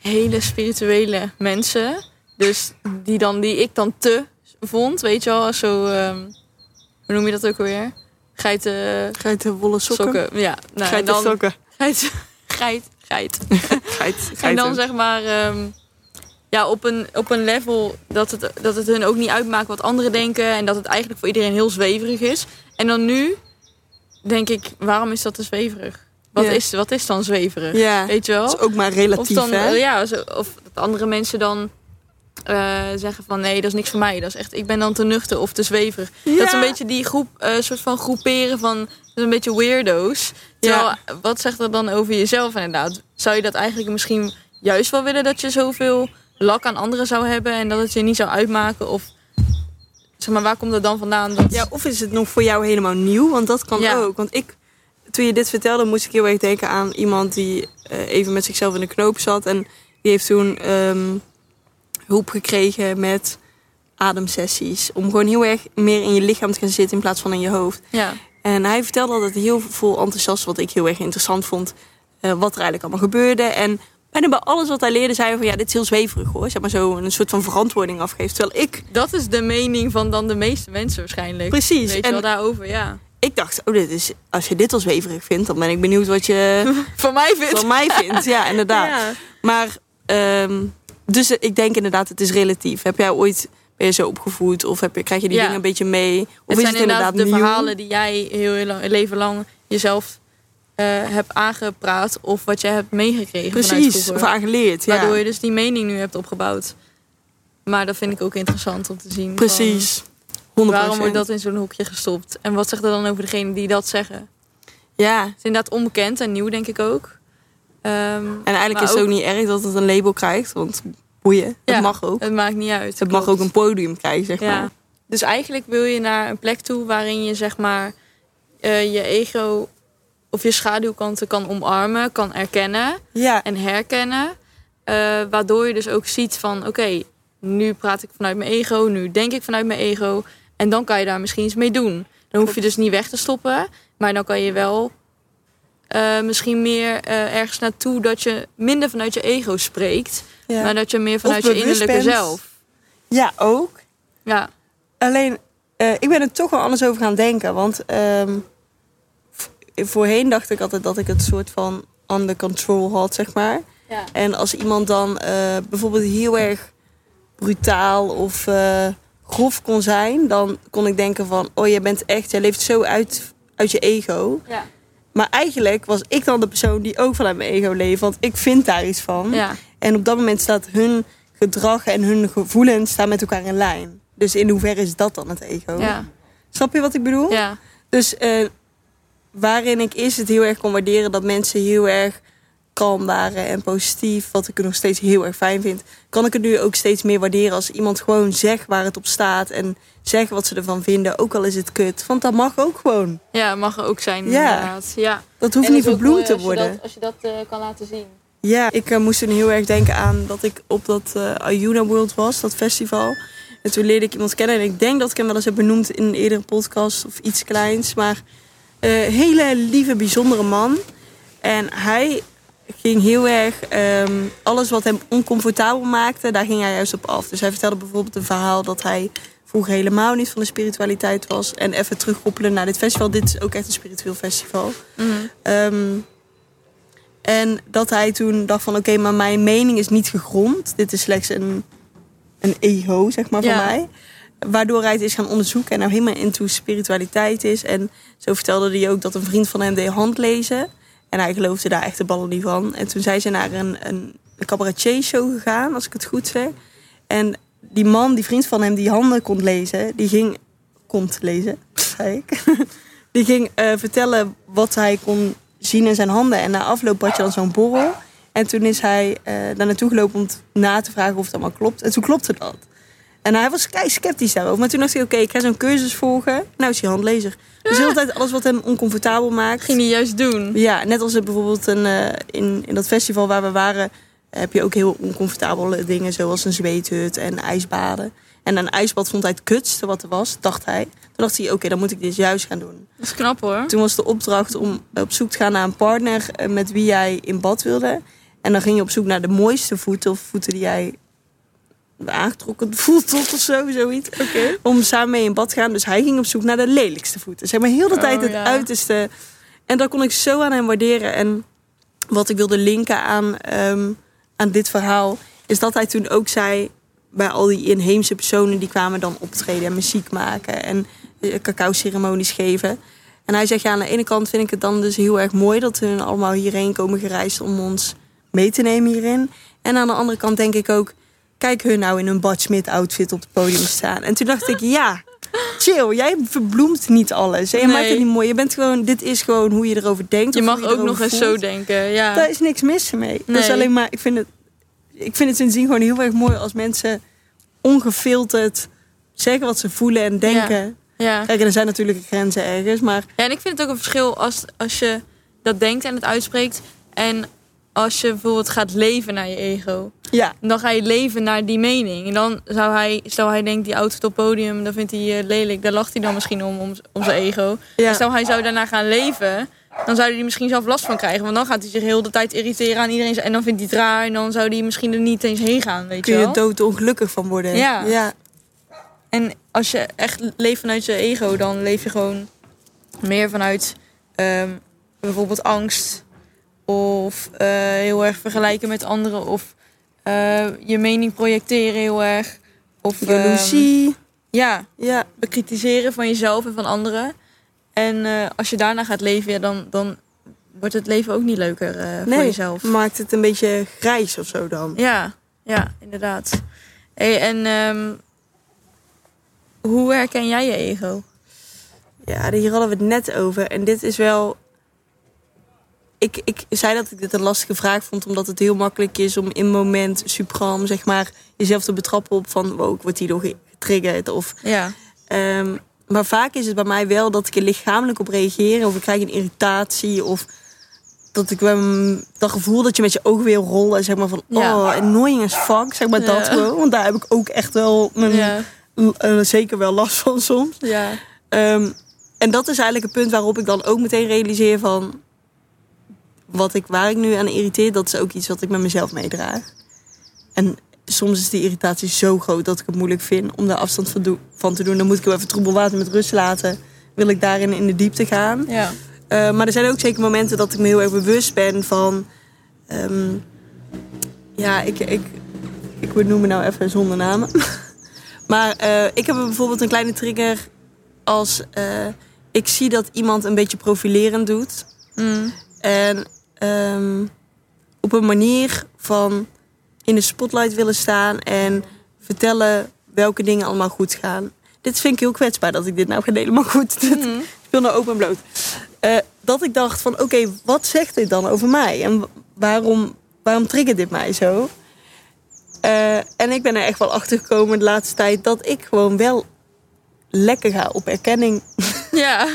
Speaker 2: hele spirituele mensen, dus die, dan, die ik dan te vond, weet je wel, als zo, ehm, hoe noem je dat ook alweer? Geiten,
Speaker 1: Geitenwolle sokken.
Speaker 2: sokken. Ja, nou, en
Speaker 1: Geiten
Speaker 2: dan,
Speaker 1: sokken.
Speaker 2: [laughs] geit, geit, geit.
Speaker 1: Geit,
Speaker 2: En
Speaker 1: geiten.
Speaker 2: dan zeg maar ehm, ja, op, een, op een level dat het, dat het hun ook niet uitmaakt wat anderen denken. En dat het eigenlijk voor iedereen heel zweverig is. En dan nu denk ik, waarom is dat te zweverig? Wat,
Speaker 1: Ja.
Speaker 2: is, wat is dan zweverig?
Speaker 1: Ja,
Speaker 2: Weet je
Speaker 1: dat
Speaker 2: wel?
Speaker 1: is ook maar
Speaker 2: Of,
Speaker 1: relatief,
Speaker 2: dan,
Speaker 1: hè?
Speaker 2: eh, ja, zo- of dat andere mensen dan eh, zeggen van nee, dat is niks voor mij. Dat is echt, ik ben dan te nuchter of te zweverig. Dat is een beetje die groep, eh, soort van groeperen van dat is een beetje weirdo's. Terwijl,
Speaker 1: Ja.
Speaker 2: eh, wat zegt dat dan over jezelf inderdaad? Zou je dat eigenlijk misschien juist wel willen dat je zoveel lak aan anderen zou hebben en dat het je niet zou uitmaken? Of zeg maar, waar komt dat dan vandaan? Dat,
Speaker 1: Ja, of is het nog voor jou helemaal nieuw? Want dat kan
Speaker 2: Ja.
Speaker 1: ook. Want ik, toen je dit vertelde, moest ik heel erg denken aan iemand die eh, even met zichzelf in de knoop zat. En die heeft toen ehm, hulp gekregen met ademsessies. Om gewoon heel erg meer in je lichaam te gaan zitten in plaats van in je hoofd.
Speaker 2: ja.
Speaker 1: En hij vertelde altijd heel veel enthousiast, wat ik heel erg interessant vond, eh, wat er eigenlijk allemaal gebeurde. En bijna bij alles wat hij leerde, zei hij van ja, dit is heel zweverig hoor. Zeg maar zo een soort van verantwoording afgeeft. Terwijl ik,
Speaker 2: Dat is de mening van dan de meeste mensen waarschijnlijk.
Speaker 1: precies.
Speaker 2: Weet je
Speaker 1: en
Speaker 2: wel, daarover, ja.
Speaker 1: ik dacht, oh, dit is, als je dit al zweverig vindt, dan ben ik benieuwd
Speaker 2: [laughs]
Speaker 1: wat je
Speaker 2: Van mij vindt
Speaker 1: van mij vindt. Ja, inderdaad.
Speaker 2: Ja.
Speaker 1: Maar, ehm, dus eh, ik denk inderdaad, het is relatief. Heb jij ooit, ben je zo opgevoed? Of heb je, krijg je die
Speaker 2: Ja.
Speaker 1: dingen een beetje mee? Of
Speaker 2: Het
Speaker 1: is
Speaker 2: zijn
Speaker 1: het inderdaad,
Speaker 2: inderdaad de
Speaker 1: nieuw?
Speaker 2: verhalen die jij heel, heel lang, leven lang jezelf eh, hebt aangepraat. Of wat jij hebt meegekregen vanuit
Speaker 1: Precies, of
Speaker 2: vroeger.
Speaker 1: aangeleerd. Ja.
Speaker 2: Waardoor je dus die mening nu hebt opgebouwd. Maar dat vind ik ook interessant om te zien. van,
Speaker 1: Precies, 100%.
Speaker 2: waarom wordt dat in zo'n hoekje gestopt? En wat zegt er dan over degene die dat zeggen? Het
Speaker 1: Ja,
Speaker 2: is inderdaad onbekend en nieuw, denk ik ook. Ehm,
Speaker 1: en eigenlijk
Speaker 2: Maar
Speaker 1: is het ook
Speaker 2: ook-
Speaker 1: niet erg dat het een label krijgt, want boeien, het
Speaker 2: Ja.
Speaker 1: mag ook.
Speaker 2: het maakt niet uit.
Speaker 1: Het mag
Speaker 2: klopt.
Speaker 1: ook een podium krijgen, zeg maar.
Speaker 2: Dus eigenlijk wil je naar een plek toe waarin je zeg maar eh, je ego of je schaduwkanten kan omarmen, kan erkennen
Speaker 1: Ja,
Speaker 2: en herkennen. eh, waardoor je dus ook ziet van oké, nu praat ik vanuit mijn ego, nu denk ik vanuit mijn ego. En dan kan je daar misschien iets mee doen. Dan hoef je dus niet weg te stoppen, maar dan kan je wel eh, misschien meer eh, ergens naartoe dat je minder vanuit je ego spreekt,
Speaker 1: ja.
Speaker 2: maar dat je meer vanuit je
Speaker 1: bewust
Speaker 2: innerlijke
Speaker 1: bent.
Speaker 2: zelf.
Speaker 1: ja ook.
Speaker 2: Ja,
Speaker 1: Alleen, eh, ik ben er toch wel anders over gaan denken. Want ehm, v- voorheen dacht ik altijd dat ik het soort van under control had, zeg maar.
Speaker 2: ja.
Speaker 1: En als iemand dan eh, bijvoorbeeld heel erg brutaal of eh, grof kon zijn... dan kon ik denken van, oh, jij bent echt, jij leeft zo uit, uit je ego.
Speaker 2: ja.
Speaker 1: Maar eigenlijk was ik dan de persoon die ook vanuit mijn ego leeft. Want ik vind daar iets van.
Speaker 2: ja.
Speaker 1: En op dat moment staat hun gedrag en hun gevoelens staan met elkaar in lijn. Dus in hoeverre is dat dan het ego?
Speaker 2: Ja,
Speaker 1: Snap je wat ik bedoel?
Speaker 2: ja,
Speaker 1: Dus eh, waarin ik eerst het heel erg kon waarderen dat mensen heel erg kalm waren en positief, wat ik nog steeds heel erg fijn vind, kan ik het nu ook steeds meer waarderen als iemand gewoon zegt waar het op staat en zegt wat ze ervan vinden, ook al is het kut. Want dat mag ook gewoon.
Speaker 2: ja, mag er ook zijn
Speaker 1: Ja.
Speaker 2: inderdaad. Ja.
Speaker 1: Dat hoeft niet verbloemd te worden.
Speaker 2: eh, als je dat eh, kan laten zien.
Speaker 1: Ja, ik eh, moest toen heel erg denken aan dat ik op dat eh Ayuna World was, dat festival. En toen leerde ik iemand kennen. En ik denk dat ik hem wel eens heb benoemd in een eerdere podcast of iets kleins. Maar eh hele lieve, bijzondere man. En hij ging heel erg ehm, alles wat hem oncomfortabel maakte, daar ging hij juist op af. Dus hij vertelde bijvoorbeeld een verhaal dat hij vroeger helemaal niet van de spiritualiteit was. En even terugkoppelen naar dit festival. Dit is ook echt een spiritueel festival.
Speaker 2: Mhm.
Speaker 1: Ehm, en dat hij toen dacht van oké, maar mijn mening is niet gegrond. Dit is slechts een, een ego, zeg maar, van
Speaker 2: Ja.
Speaker 1: mij. Waardoor hij het is gaan onderzoeken en nou helemaal into spiritualiteit is. En zo vertelde hij ook dat een vriend van hem deed handlezen. En hij geloofde daar echt de ballen niet van. En toen zijn ze naar een, een, een cabaretier-show gegaan, als ik het goed zeg. En die man, die vriend van hem, die handen kon lezen, die ging... Komt lezen, zei ik. [laughs] Die ging eh, vertellen wat hij kon zien in zijn handen. En na afloop had je dan zo'n borrel. En toen is hij eh, daar naartoe gelopen om t- na te vragen of het allemaal klopt. En toen klopte dat. En hij was kei sceptisch daarover. Maar toen dacht hij, oké, ik ga zo'n cursus volgen. Nou is hij handlezer. Dus de hele tijd alles wat hem oncomfortabel maakt.
Speaker 2: Ging hij juist doen.
Speaker 1: Ja, net als het bijvoorbeeld een, eh, in, in dat festival waar we waren, heb je ook heel oncomfortabele dingen, zoals een zweethut en ijsbaden. En een ijsbad vond hij het kutste wat er was, dacht hij. Toen dacht hij, oké, dan moet ik dit juist gaan doen.
Speaker 2: Dat is knap hoor.
Speaker 1: Toen was de opdracht om op zoek te gaan naar een partner eh, met wie jij in bad wilde. En dan ging je op zoek naar de mooiste voeten of voeten die jij aangetrokken voelt tot of zo, zoiets.
Speaker 2: Oké.
Speaker 1: Om samen mee in bad te gaan. Dus hij ging op zoek naar de lelijkste voeten. Zeg maar heel de
Speaker 2: Oh,
Speaker 1: tijd het
Speaker 2: ja.
Speaker 1: uiterste. En dat kon ik zo aan hem waarderen. En wat ik wilde linken aan, ehm, aan dit verhaal... is dat hij toen ook zei... bij al die inheemse personen die kwamen dan optreden... en muziek maken en eh, cacao-ceremonies geven... En hij zegt, ja, aan de ene kant vind ik het dan dus heel erg mooi dat hun allemaal hierheen komen gereisd om ons mee te nemen hierin. En aan de andere kant denk ik ook, kijk hun nou in hun Bad Smith outfit op het podium staan. En toen dacht ik, ja, chill, jij verbloemt niet alles. En je
Speaker 2: Nee.
Speaker 1: maakt het niet mooi. Je bent gewoon, dit is gewoon hoe je erover denkt.
Speaker 2: Je
Speaker 1: of
Speaker 2: mag
Speaker 1: hoe je
Speaker 2: ook nog
Speaker 1: erover
Speaker 2: eens
Speaker 1: voelt.
Speaker 2: zo denken. Ja.
Speaker 1: Daar is niks mis mee. Dus
Speaker 2: Nee.
Speaker 1: alleen maar, ik vind het, ik vind het sindsdien gewoon heel erg mooi als mensen ongefilterd zeggen wat ze voelen en denken.
Speaker 2: ja.
Speaker 1: Kijk, en er zijn natuurlijk grenzen ergens, maar
Speaker 2: Ja, en ik vind het ook een verschil als, als je dat denkt en het uitspreekt. En als je bijvoorbeeld gaat leven naar je ego.
Speaker 1: ja.
Speaker 2: Dan ga je leven naar die mening. En dan zou hij, stel hij denkt die outfit op podium, dan vindt hij eh, lelijk. Daar lacht hij dan misschien om, om, om zijn ego.
Speaker 1: Ja.
Speaker 2: En stel hij zou daarna gaan leven, dan zou hij er misschien zelf last van krijgen. Want dan gaat hij zich heel de tijd irriteren aan iedereen. En dan vindt hij het raar en dan zou hij misschien er niet eens heen gaan, weet je
Speaker 1: kun je
Speaker 2: wel.
Speaker 1: doodongelukkig van worden.
Speaker 2: Ja.
Speaker 1: ja.
Speaker 2: En als je echt leeft vanuit je ego, dan leef je gewoon meer vanuit ehm, bijvoorbeeld angst. Of eh, heel erg vergelijken met anderen. Of eh, je mening projecteren heel erg. Of ehm,
Speaker 1: Jaloezie.
Speaker 2: ja,
Speaker 1: ja.
Speaker 2: bekritiseren van jezelf en van anderen. En eh, als je daarna gaat leven, ja, dan, dan wordt het leven ook niet leuker eh, voor jezelf.
Speaker 1: maakt het een beetje grijs of zo dan.
Speaker 2: Ja, ja, inderdaad. Hey, en ehm, hoe herken jij je ego?
Speaker 1: Ja, hier hadden we het net over. En dit is wel... Ik, ik zei dat ik dit een lastige vraag vond, omdat het heel makkelijk is om in moment suprem, zeg maar, jezelf te betrappen op van, wow, ik word hierdoor getriggerd. Of
Speaker 2: Ja.
Speaker 1: Ehm, maar vaak is het bij mij wel dat ik er lichamelijk op reageer. Of ik krijg een irritatie. Of dat ik ehm, dat gevoel dat je met je ogen wil rollen. Zeg maar van,
Speaker 2: Ja.
Speaker 1: oh, annoying as fuck. Zeg maar dat
Speaker 2: Ja.
Speaker 1: gewoon. Want daar heb ik ook echt wel, mijn,
Speaker 2: Ja,
Speaker 1: eh, zeker wel last van soms.
Speaker 2: ja,
Speaker 1: Ehm, en dat is eigenlijk het punt waarop ik dan ook meteen realiseer van... Wat ik, waar ik nu aan irriteer, dat is ook iets wat ik met mezelf meedraag. En soms is die irritatie zo groot dat ik het moeilijk vind om daar afstand van, doe- van te doen. Dan moet ik wel even troebel water met rust laten. Wil ik daarin in de diepte gaan.
Speaker 2: ja.
Speaker 1: Eh, maar er zijn ook zeker momenten dat ik me heel erg bewust ben van... ehm, ja, ik, ik, ik benoem me nou even zonder namen. [laughs] maar eh, ik heb bijvoorbeeld een kleine trigger als eh, ik zie dat iemand een beetje profilerend doet.
Speaker 2: Mm.
Speaker 1: En ehm, op een manier van in de spotlight willen staan en vertellen welke dingen allemaal goed gaan. Dit vind ik heel kwetsbaar dat ik dit nou ga delen, maar goed, [laughs] dit
Speaker 2: Mhm.
Speaker 1: ik wil nou open en bloot. Eh, dat ik dacht van, oké, wat zegt dit dan over mij? En wa- waarom, waarom triggert dit mij zo? Eh, en ik ben er echt wel achter gekomen de laatste tijd dat ik gewoon wel lekker ga op erkenning.
Speaker 2: Ja,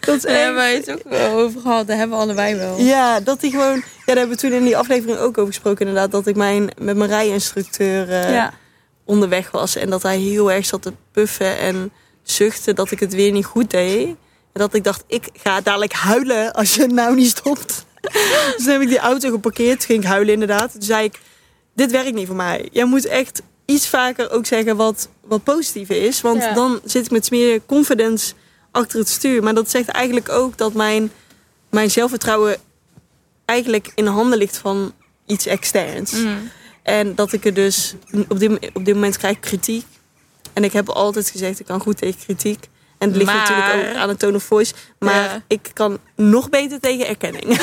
Speaker 1: Dat is
Speaker 2: daar
Speaker 1: echt-
Speaker 2: hebben wij het ook wel over gehad. Daar hebben we allebei wel.
Speaker 1: Ja, dat die gewoon. Ja, daar hebben we toen in die aflevering ook over gesproken, inderdaad. Dat ik mijn, met mijn rijinstructeur eh,
Speaker 2: Ja.
Speaker 1: onderweg was. En dat hij heel erg zat te puffen en zuchten dat ik het weer niet goed deed. En dat ik dacht, ik ga dadelijk huilen als je het nou niet stopt. [laughs] dus toen heb ik die auto geparkeerd, toen ging ik huilen inderdaad. Toen zei ik, dit werkt niet voor mij. Jij moet echt iets vaker ook zeggen wat, wat positief is. Want
Speaker 2: Ja.
Speaker 1: dan zit ik met meer confidence achter het stuur. Maar dat zegt eigenlijk ook dat mijn, mijn zelfvertrouwen eigenlijk in handen ligt van iets externs.
Speaker 2: Mm.
Speaker 1: En dat ik er dus... Op dit, op dit moment krijg ik kritiek. En ik heb altijd gezegd, ik kan goed tegen kritiek. En het ligt
Speaker 2: Maar-
Speaker 1: natuurlijk ook aan de tone of voice. Maar
Speaker 2: Ja.
Speaker 1: ik kan nog beter tegen erkenning.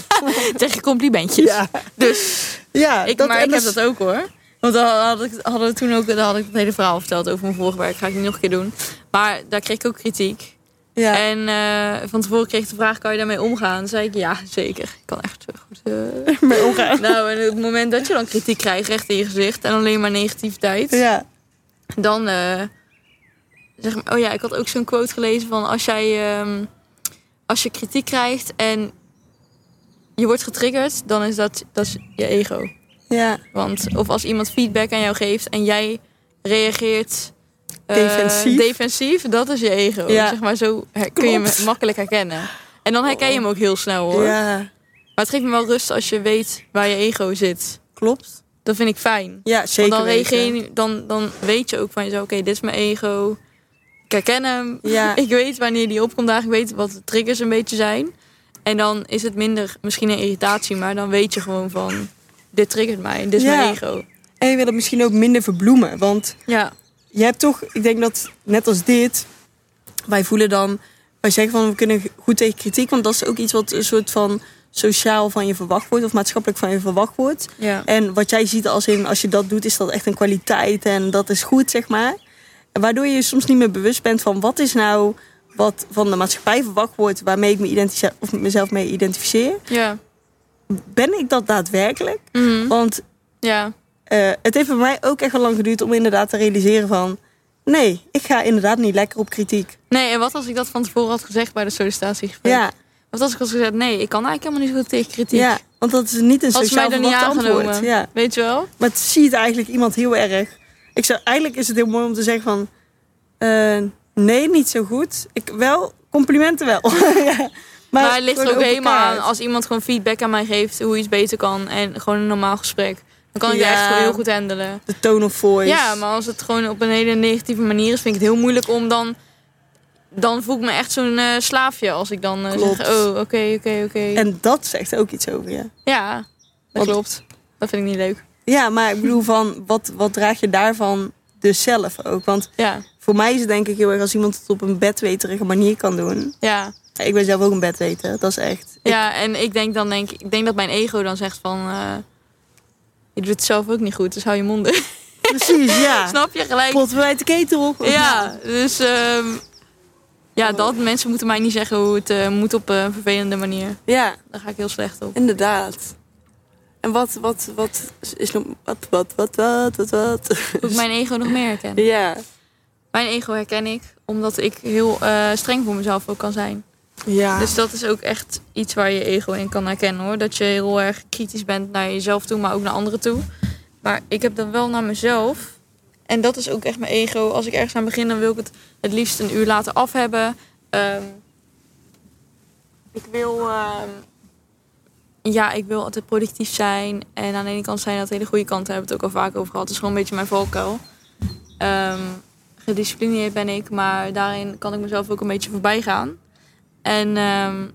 Speaker 1: [laughs]
Speaker 2: Tegen complimentjes. Dus
Speaker 1: ja
Speaker 2: ik,
Speaker 1: dat-
Speaker 2: maar
Speaker 1: en
Speaker 2: ik heb
Speaker 1: is-
Speaker 2: dat ook hoor. Want dan had ik, hadden we toen ook dan had ik het hele verhaal verteld over mijn vorige werk. Ga ik niet nog een keer doen. Maar daar kreeg ik ook kritiek.
Speaker 1: Ja.
Speaker 2: En eh, van tevoren kreeg ik de vraag: kan je daarmee omgaan? Toen zei ik: ja, zeker. Ik kan echt zo goed [laughs] eh,
Speaker 1: Mee omgaan.
Speaker 2: Nou, en op het moment dat je dan kritiek krijgt, recht in je gezicht en alleen maar negativiteit.
Speaker 1: Ja.
Speaker 2: dan eh, zeg maar, oh ja, ik had ook zo'n quote gelezen van als jij ehm, als je kritiek krijgt en je wordt getriggerd, dan is dat, dat is je ego.
Speaker 1: Ja,
Speaker 2: Want of als iemand feedback aan jou geeft en jij reageert eh,
Speaker 1: Defensief.
Speaker 2: defensief, dat is je ego.
Speaker 1: Ja.
Speaker 2: Zeg maar zo her- kun je
Speaker 1: Klopt.
Speaker 2: hem makkelijk herkennen. En dan herken je hem ook heel snel hoor.
Speaker 1: ja,
Speaker 2: Maar het geeft me wel rust als je weet waar je ego zit.
Speaker 1: klopt.
Speaker 2: Dat vind ik fijn.
Speaker 1: Ja, zeker
Speaker 2: Want dan,
Speaker 1: weten.
Speaker 2: reageer je- dan, dan weet je ook van jezelf, oké, dit is mijn ego. Ik herken hem.
Speaker 1: Ja.
Speaker 2: [laughs] Ik weet wanneer die opkomt dagen. Ik weet wat de triggers een beetje zijn. En dan is het minder misschien een irritatie, maar dan weet je gewoon van... Dit triggert mij, dit is
Speaker 1: Ja.
Speaker 2: mijn ego.
Speaker 1: En je wil het misschien ook minder verbloemen. Want
Speaker 2: Ja,
Speaker 1: je hebt toch, ik denk dat net als dit, wij voelen dan, wij zeggen van we kunnen goed tegen kritiek, want dat is ook iets wat een soort van sociaal van je verwacht wordt of maatschappelijk van je verwacht wordt.
Speaker 2: ja.
Speaker 1: En wat jij ziet als in, als je dat doet, is dat echt een kwaliteit en dat is goed, zeg maar. En Waardoor je je soms niet meer bewust bent van wat is nou wat van de maatschappij verwacht wordt, waarmee ik me identificeer of mezelf mee identificeer.
Speaker 2: Ja.
Speaker 1: Ben ik dat daadwerkelijk?
Speaker 2: Mhm.
Speaker 1: Want
Speaker 2: ja.
Speaker 1: eh, het heeft voor mij ook echt wel lang geduurd om inderdaad te realiseren van... Nee, ik ga inderdaad niet lekker op kritiek.
Speaker 2: Nee, en wat als ik dat van tevoren had gezegd bij de sollicitatiegesprek?
Speaker 1: Ja,
Speaker 2: Wat als ik had gezegd, nee, ik kan eigenlijk helemaal niet zo goed tegen kritiek.
Speaker 1: ja, want dat is niet een
Speaker 2: Had ze mij
Speaker 1: sociaal
Speaker 2: dan niet
Speaker 1: verwacht antwoord.
Speaker 2: aangenomen.
Speaker 1: Ja.
Speaker 2: Weet je wel?
Speaker 1: Maar het ziet eigenlijk iemand heel erg. Ik zou, eigenlijk is het heel mooi om te zeggen van... eh, nee, niet zo goed. Ik wel, complimenten wel. [laughs] ja.
Speaker 2: Maar, het ligt er
Speaker 1: gewoon
Speaker 2: ook
Speaker 1: open
Speaker 2: helemaal
Speaker 1: kaart.
Speaker 2: aan als iemand gewoon feedback aan mij geeft hoe iets beter kan en gewoon een normaal gesprek. Dan kan ik
Speaker 1: Ja.
Speaker 2: het echt gewoon heel goed handelen.
Speaker 1: De tone of voice.
Speaker 2: Ja, maar als het gewoon op een hele negatieve manier is, vind ik het heel moeilijk om dan. Dan voel ik me echt zo'n eh, slaafje als ik dan eh,
Speaker 1: Klopt.
Speaker 2: zeg: Oh, oké, oké, oké.
Speaker 1: En dat zegt ook iets over je.
Speaker 2: Ja, dat
Speaker 1: Want-
Speaker 2: klopt. Dat vind ik niet leuk.
Speaker 1: Ja, maar ik bedoel van... Wat, wat draag je daarvan dus zelf ook? Want
Speaker 2: Ja,
Speaker 1: Voor mij is het denk ik heel erg als iemand het op een bedweterige manier kan doen.
Speaker 2: ja,
Speaker 1: Ik ben zelf ook een bedweter, dat is echt. Ik-
Speaker 2: ja. En ik denk dan, denk ik, denk dat mijn ego dan zegt: van... eh, je doet het zelf ook niet goed, dus hou je mond dicht."
Speaker 1: precies, ja.
Speaker 2: [laughs] Snap je gelijk?
Speaker 1: Pot wij de ketel.
Speaker 2: Ja, dus ehm, ja,
Speaker 1: Oh.
Speaker 2: dat mensen moeten mij niet zeggen hoe het eh, moet op een vervelende manier.
Speaker 1: Ja,
Speaker 2: Daar ga ik heel slecht op.
Speaker 1: inderdaad. En wat, wat, wat is nog... Wat, wat, wat, wat, wat, wat?
Speaker 2: Hoe ik mijn ego nog meer herken.
Speaker 1: [laughs] Ja.
Speaker 2: Mijn ego herken ik omdat ik heel eh, streng voor mezelf ook kan zijn.
Speaker 1: Ja.
Speaker 2: Dus dat is ook echt iets waar je ego in kan herkennen hoor. Dat je heel erg kritisch bent naar jezelf toe, maar ook naar anderen toe. Maar ik heb dat wel naar mezelf. En dat is ook echt mijn ego. Als ik ergens aan begin, dan wil ik het het liefst een uur laten af hebben. Ehm, ik wil. ehm, ja, ik wil altijd productief zijn. En aan de ene kant zijn dat hele goede kanten. Daar hebben we het ook al vaak over gehad. Het is gewoon een beetje mijn valkuil. Ehm, gedisciplineerd ben ik, maar daarin kan ik mezelf ook een beetje voorbij gaan. En ehm,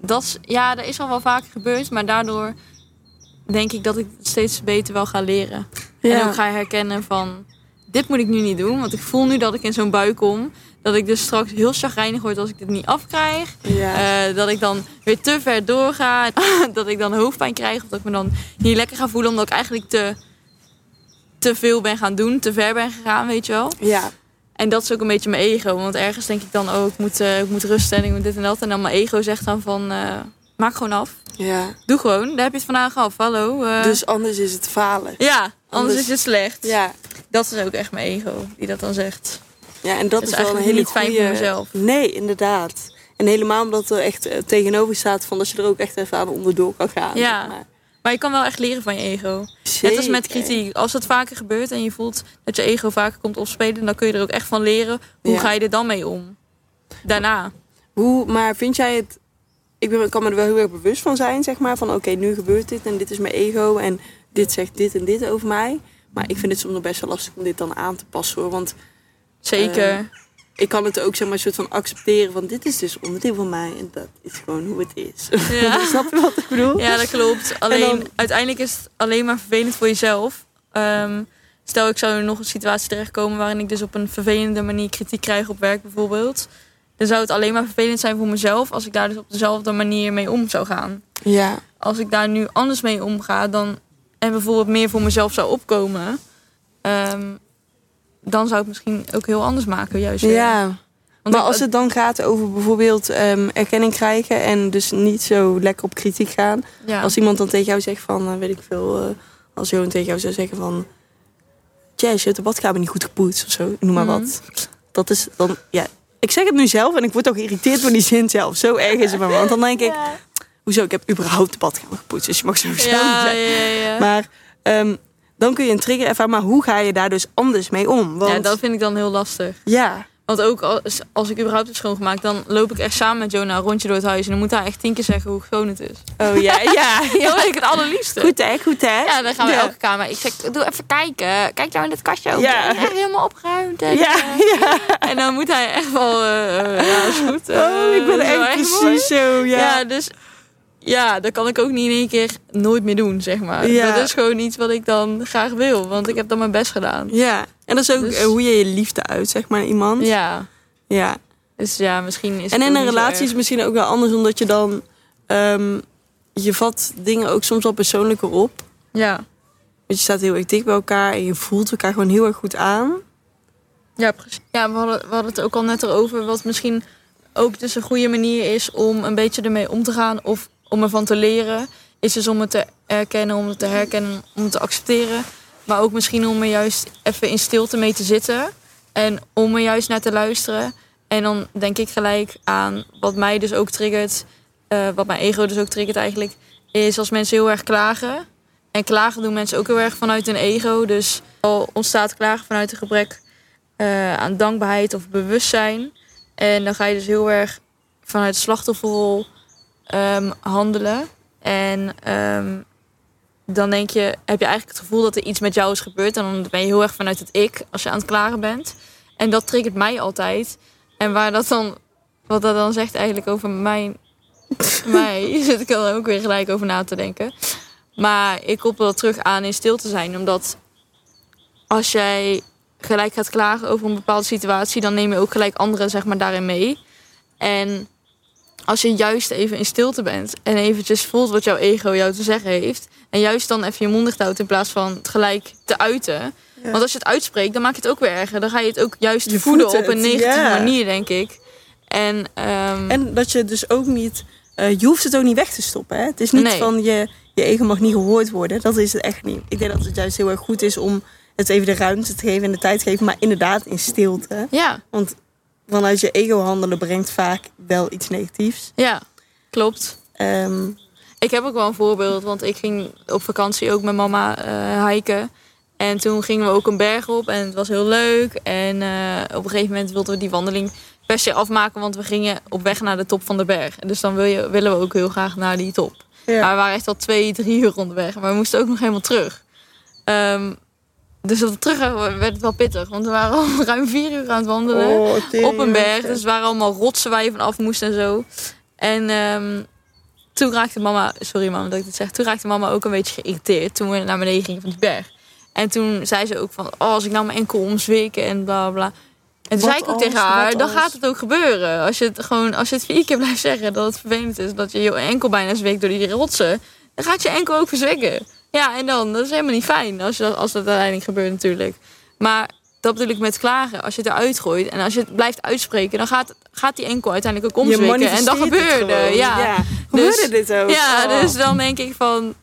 Speaker 2: dat is, ja, dat is al wel vaker gebeurd, maar daardoor denk ik dat ik het steeds beter wel ga leren. En ook ga herkennen van, dit moet ik nu niet doen, want ik voel nu dat ik in zo'n bui kom. Dat ik dus straks heel chagrijnig word als ik dit niet afkrijg.
Speaker 1: ja.
Speaker 2: Eh, dat ik dan weer te ver doorga. [laughs] dat ik dan hoofdpijn krijg. Of dat ik me dan niet lekker ga voelen. Omdat ik eigenlijk te, te veel ben gaan doen. Te ver ben gegaan, weet je wel.
Speaker 1: ja.
Speaker 2: En dat is ook een beetje mijn ego. Want ergens denk ik dan, oh, ik moet, eh, ik moet rusten en ik moet dit en dat. En dan mijn ego zegt dan van, eh, maak gewoon af.
Speaker 1: Ja.
Speaker 2: Doe gewoon, daar heb je het vandaag af. Hallo. eh.
Speaker 1: anders is het falen.
Speaker 2: Ja, anders,
Speaker 1: Dus- anders-
Speaker 2: is het slecht.
Speaker 1: Ja.
Speaker 2: Dat is ook echt mijn ego die dat dan zegt.
Speaker 1: Ja, en dat
Speaker 2: Dat
Speaker 1: is,
Speaker 2: is
Speaker 1: wel een
Speaker 2: eigenlijk
Speaker 1: hele
Speaker 2: niet fijn voor
Speaker 1: goeie-
Speaker 2: mezelf.
Speaker 1: Nee, inderdaad. En helemaal omdat er echt eh, tegenover staat van dat je er ook echt even aan onderdoor kan gaan.
Speaker 2: Ja.
Speaker 1: zeg maar.
Speaker 2: Maar je kan wel echt leren van je ego. Net als met
Speaker 1: Zeker.
Speaker 2: kritiek. Als dat vaker gebeurt en je voelt dat je ego vaker komt opspelen, dan kun je er ook echt van leren. Hoe
Speaker 1: Ja.
Speaker 2: ga je er dan mee om? Daarna.
Speaker 1: Hoe, maar vind jij het... Ik ben, kan me er wel heel erg bewust van zijn, zeg maar. Van oké, nu gebeurt dit en dit is mijn ego en dit zegt dit en dit over mij. Maar ik vind het soms nog best wel lastig om dit dan aan te passen hoor. Want
Speaker 2: Zeker.
Speaker 1: ik kan het ook zeg maar een soort van accepteren van dit is dus onderdeel van mij. En dat is gewoon hoe het is. [laughs]
Speaker 2: Ja.
Speaker 1: Snap je wat ik bedoel?
Speaker 2: ja, dat klopt. Alleen,
Speaker 1: dan-
Speaker 2: uiteindelijk is het alleen maar vervelend voor jezelf. Ehm, stel, ik zou in nog een situatie terechtkomen waarin ik dus op een vervelende manier kritiek krijg op werk bijvoorbeeld. Dan zou het alleen maar vervelend zijn voor mezelf als ik daar dus op dezelfde manier mee om zou gaan.
Speaker 1: Ja.
Speaker 2: als ik daar nu anders mee omga dan, en bijvoorbeeld meer voor mezelf zou opkomen, ehm, dan zou ik het misschien ook heel anders maken, juist. weer.
Speaker 1: Ja,
Speaker 2: Want
Speaker 1: maar
Speaker 2: ik-
Speaker 1: als het dan gaat over bijvoorbeeld ehm, erkenning krijgen en dus niet zo lekker op kritiek gaan.
Speaker 2: ja.
Speaker 1: Als iemand dan tegen jou zegt van, eh, weet ik veel, eh, als Johan tegen jou zou zeggen van, Jess, je hebt de badkamer niet goed gepoetst of zo. Noem maar
Speaker 2: Mhm.
Speaker 1: wat. Dat is dan, ja. Ik zeg het nu zelf en ik word ook geïrriteerd door die zin zelf. Zo erg is het bij me. Want dan denk ik, hoezo, ik heb überhaupt de badkamer gepoetst. Dus je mag [laughs] sowieso niet
Speaker 2: Ja, ja,
Speaker 1: zeggen.
Speaker 2: ja. ja.
Speaker 1: Maar ehm, dan kun je een trigger ervaren. Maar hoe ga je daar dus anders mee om? Want,
Speaker 2: Ja, dat vind ik dan heel lastig.
Speaker 1: ja,
Speaker 2: Want ook als, als ik überhaupt heb schoongemaakt, dan loop ik echt samen met Jonah een rondje door het huis. En dan moet hij echt tien keer zeggen hoe schoon het is.
Speaker 1: oh ja, ja. ja.
Speaker 2: Dat vind ik het allerliefste.
Speaker 1: [laughs] Goed hè, goed hè.
Speaker 2: Ja, dan gaan we
Speaker 1: Ja.
Speaker 2: elke kamer. Ik zeg, doe even kijken. Kijk nou in het kastje ook.
Speaker 1: Ja.
Speaker 2: Ja. Is echt helemaal opgeruimd. En,
Speaker 1: Ja,
Speaker 2: eh,
Speaker 1: ja.
Speaker 2: en dan moet hij echt wel... eh, eh, ja, is goed.
Speaker 1: Oh,
Speaker 2: eh,
Speaker 1: ik ben
Speaker 2: is wel
Speaker 1: echt
Speaker 2: mooi.
Speaker 1: precies zo,
Speaker 2: Ja.
Speaker 1: ja.
Speaker 2: dus... Ja, dat kan ik ook niet in één keer nooit meer doen, zeg maar.
Speaker 1: Ja.
Speaker 2: Dat is gewoon iets wat ik dan graag wil. Want ik heb dan mijn best gedaan.
Speaker 1: Ja, en dat is ook
Speaker 2: Dus-
Speaker 1: eh, hoe je je liefde uit, zeg maar, naar iemand.
Speaker 2: Ja.
Speaker 1: Ja.
Speaker 2: Dus ja, misschien is
Speaker 1: En
Speaker 2: het
Speaker 1: in
Speaker 2: ook
Speaker 1: een
Speaker 2: niet zo
Speaker 1: relatie is
Speaker 2: erg.
Speaker 1: het misschien ook wel anders, omdat je dan... ehm, je vat dingen ook soms wel persoonlijker op.
Speaker 2: Ja.
Speaker 1: Want je staat heel erg dicht bij elkaar en je voelt elkaar gewoon heel erg goed aan.
Speaker 2: Mm. Ja, precies. Ja, we hadden, we hadden het ook al net erover. Wat misschien ook dus een goede manier is om een beetje ermee om te gaan. Of om ervan te leren. Is dus om het te erkennen, om het te herkennen, om het te accepteren. Maar ook misschien om er juist even in stilte mee te zitten. En om er juist naar te luisteren. En dan denk ik gelijk aan wat mij dus ook triggert. eh, wat mijn ego dus ook triggert eigenlijk. Is als mensen heel erg klagen. En klagen doen mensen ook heel erg vanuit hun ego. Dus al ontstaat klagen vanuit een gebrek eh, aan dankbaarheid of bewustzijn. En dan ga je dus heel erg vanuit slachtofferrol ehm, handelen. En ehm, dan denk je, heb je eigenlijk het gevoel dat er iets met jou is gebeurd. En dan ben je heel erg vanuit het ik als je aan het klagen bent. En dat triggert mij altijd. En waar dat dan, wat dat dan zegt eigenlijk over
Speaker 1: [laughs]
Speaker 2: mijn, mij, zit ik dan ook weer gelijk over na te denken. Maar ik koppel dat terug aan in stil te zijn. Omdat als jij gelijk gaat klagen over een bepaalde situatie, dan neem je ook gelijk anderen zeg maar, daarin mee. En als je juist even in stilte bent en eventjes voelt wat jouw ego jou te zeggen heeft, en juist dan even je mond dicht houdt in plaats van het gelijk te uiten.
Speaker 1: Ja.
Speaker 2: Want als je het uitspreekt, dan maak je het ook weer erger. Dan ga je het ook juist
Speaker 1: Je
Speaker 2: voeden
Speaker 1: voedt
Speaker 2: op een
Speaker 1: het,
Speaker 2: negatieve
Speaker 1: ja.
Speaker 2: manier, denk ik. En, ehm,
Speaker 1: En dat je dus ook niet... eh, je hoeft het ook niet weg te stoppen, hè. Het is niet
Speaker 2: Nee.
Speaker 1: van, je, je ego mag niet gehoord worden. Dat is het echt niet. Ik denk dat het juist heel erg goed is om het even de ruimte te geven en de tijd te geven. Maar inderdaad in stilte.
Speaker 2: ja,
Speaker 1: Want vanuit je ego handelen brengt vaak wel iets negatiefs.
Speaker 2: ja, klopt.
Speaker 1: Ehm,
Speaker 2: Ik heb ook wel een voorbeeld, want ik ging op vakantie ook met mama eh hiken. En toen gingen we ook een berg op en het was heel leuk. En eh, op een gegeven moment wilden we die wandeling per se afmaken, want we gingen op weg naar de top van de berg. Dus dan wil je, willen we ook heel graag naar die top.
Speaker 1: ja.
Speaker 2: Maar we waren echt al twee, drie uur onderweg. Maar we moesten ook nog helemaal terug. Ehm, dus op de terugweg werd het wel pittig, want we waren al [laughs] ruim vier uur aan het wandelen
Speaker 1: Oh, tering,
Speaker 2: op een berg.
Speaker 1: mensen.
Speaker 2: Dus het waren allemaal rotsen waar je van af moest en zo. En ehm, toen raakte mama, sorry mama dat ik dit zeg, toen raakte mama ook een beetje geïrriteerd toen we naar beneden gingen van die berg. En toen zei ze ook van, oh, als ik nou mijn enkel omzwikken en bla bla. En toen
Speaker 1: Wat
Speaker 2: zei ik ook
Speaker 1: als,
Speaker 2: tegen haar,
Speaker 1: wat
Speaker 2: dan
Speaker 1: als?
Speaker 2: gaat het ook gebeuren. Als je het gewoon, als je het vier keer blijft zeggen dat het vervelend is, dat je je enkel bijna zwikt door die rotsen, dan gaat je enkel ook verzwikken. Ja, en dan, dat is helemaal niet fijn als, je dat, als dat uiteindelijk gebeurt natuurlijk. Maar dat bedoel ik met klagen. Als je het eruit gooit en als je het blijft uitspreken, dan gaat, gaat die enkel uiteindelijk ook
Speaker 1: Je
Speaker 2: omzwikken. En dat
Speaker 1: manifesteert het
Speaker 2: gebeurde.
Speaker 1: gewoon.
Speaker 2: Ja. Ja.
Speaker 1: Gebeurde
Speaker 2: Dus-
Speaker 1: dit ook? Oh.
Speaker 2: dus dan denk ik van,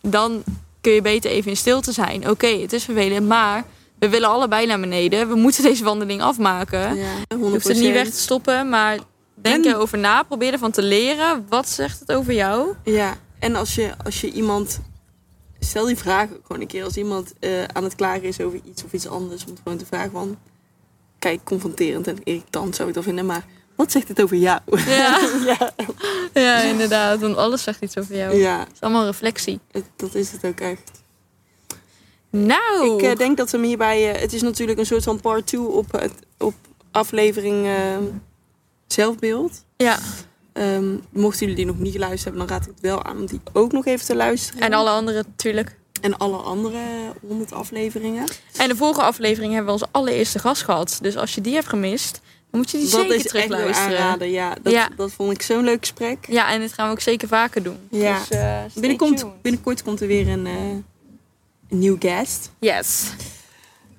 Speaker 2: dan kun je beter even in stilte zijn. Oké, het is vervelend, maar we willen allebei naar beneden. We moeten deze wandeling afmaken.
Speaker 1: Ja, 100%.
Speaker 2: Je eh, hoeft het niet weg te stoppen, maar denk
Speaker 1: En-
Speaker 2: erover na. Probeer ervan te leren. Wat zegt het over jou?
Speaker 1: Ja, en als je, als je iemand... Stel die vraag ook gewoon een keer als iemand eh, aan het klagen is over iets of iets anders. Om het gewoon te vragen van... Kijk, confronterend en irritant zou ik dat vinden. Maar wat zegt dit over jou? [laughs]
Speaker 2: Ja, [laughs]
Speaker 1: ja.
Speaker 2: ja inderdaad. Want alles zegt iets over jou.
Speaker 1: ja
Speaker 2: Het is allemaal reflectie.
Speaker 1: het- dat is het ook echt.
Speaker 2: Nou,
Speaker 1: Ik eh, denk dat we hem hierbij... eh, het is natuurlijk een soort van part 2 op, het- op aflevering eh, zelfbeeld.
Speaker 2: ja.
Speaker 1: Ehm, mochten jullie die nog niet geluisterd hebben, dan raad ik het wel aan om die ook nog even te luisteren.
Speaker 2: en alle anderen natuurlijk.
Speaker 1: En alle andere 100 afleveringen.
Speaker 2: En de vorige aflevering hebben we onze allereerste gast gehad. Dus als je die hebt gemist, dan moet je die
Speaker 1: dat
Speaker 2: zeker
Speaker 1: is echt wel
Speaker 2: terugluisteren.
Speaker 1: aanraden. Ja, dat,
Speaker 2: Ja.
Speaker 1: dat vond ik zo'n leuk gesprek.
Speaker 2: Ja, en dit gaan we ook zeker vaker doen.
Speaker 1: Ja.
Speaker 2: Dus, eh, stay tuned.
Speaker 1: Binnenkort, binnenkort komt er weer een, eh, een nieuw guest.
Speaker 2: Yes.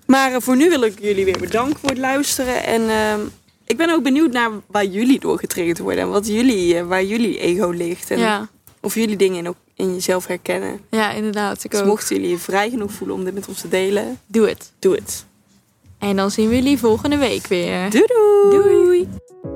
Speaker 1: Maar eh, voor nu wil ik jullie weer bedanken voor het luisteren. En ehm, ik ben ook benieuwd naar waar jullie door getriggerd worden. En wat jullie, eh, waar jullie ego ligt. En
Speaker 2: Ja.
Speaker 1: of jullie dingen in, elk- in jezelf herkennen.
Speaker 2: Ja, inderdaad. Ik
Speaker 1: Dus
Speaker 2: ook.
Speaker 1: mochten jullie je vrij genoeg voelen om dit met ons te delen,
Speaker 2: Doe het.
Speaker 1: doe het.
Speaker 2: En dan zien we jullie volgende week weer.
Speaker 1: Doei doei!
Speaker 2: Doei.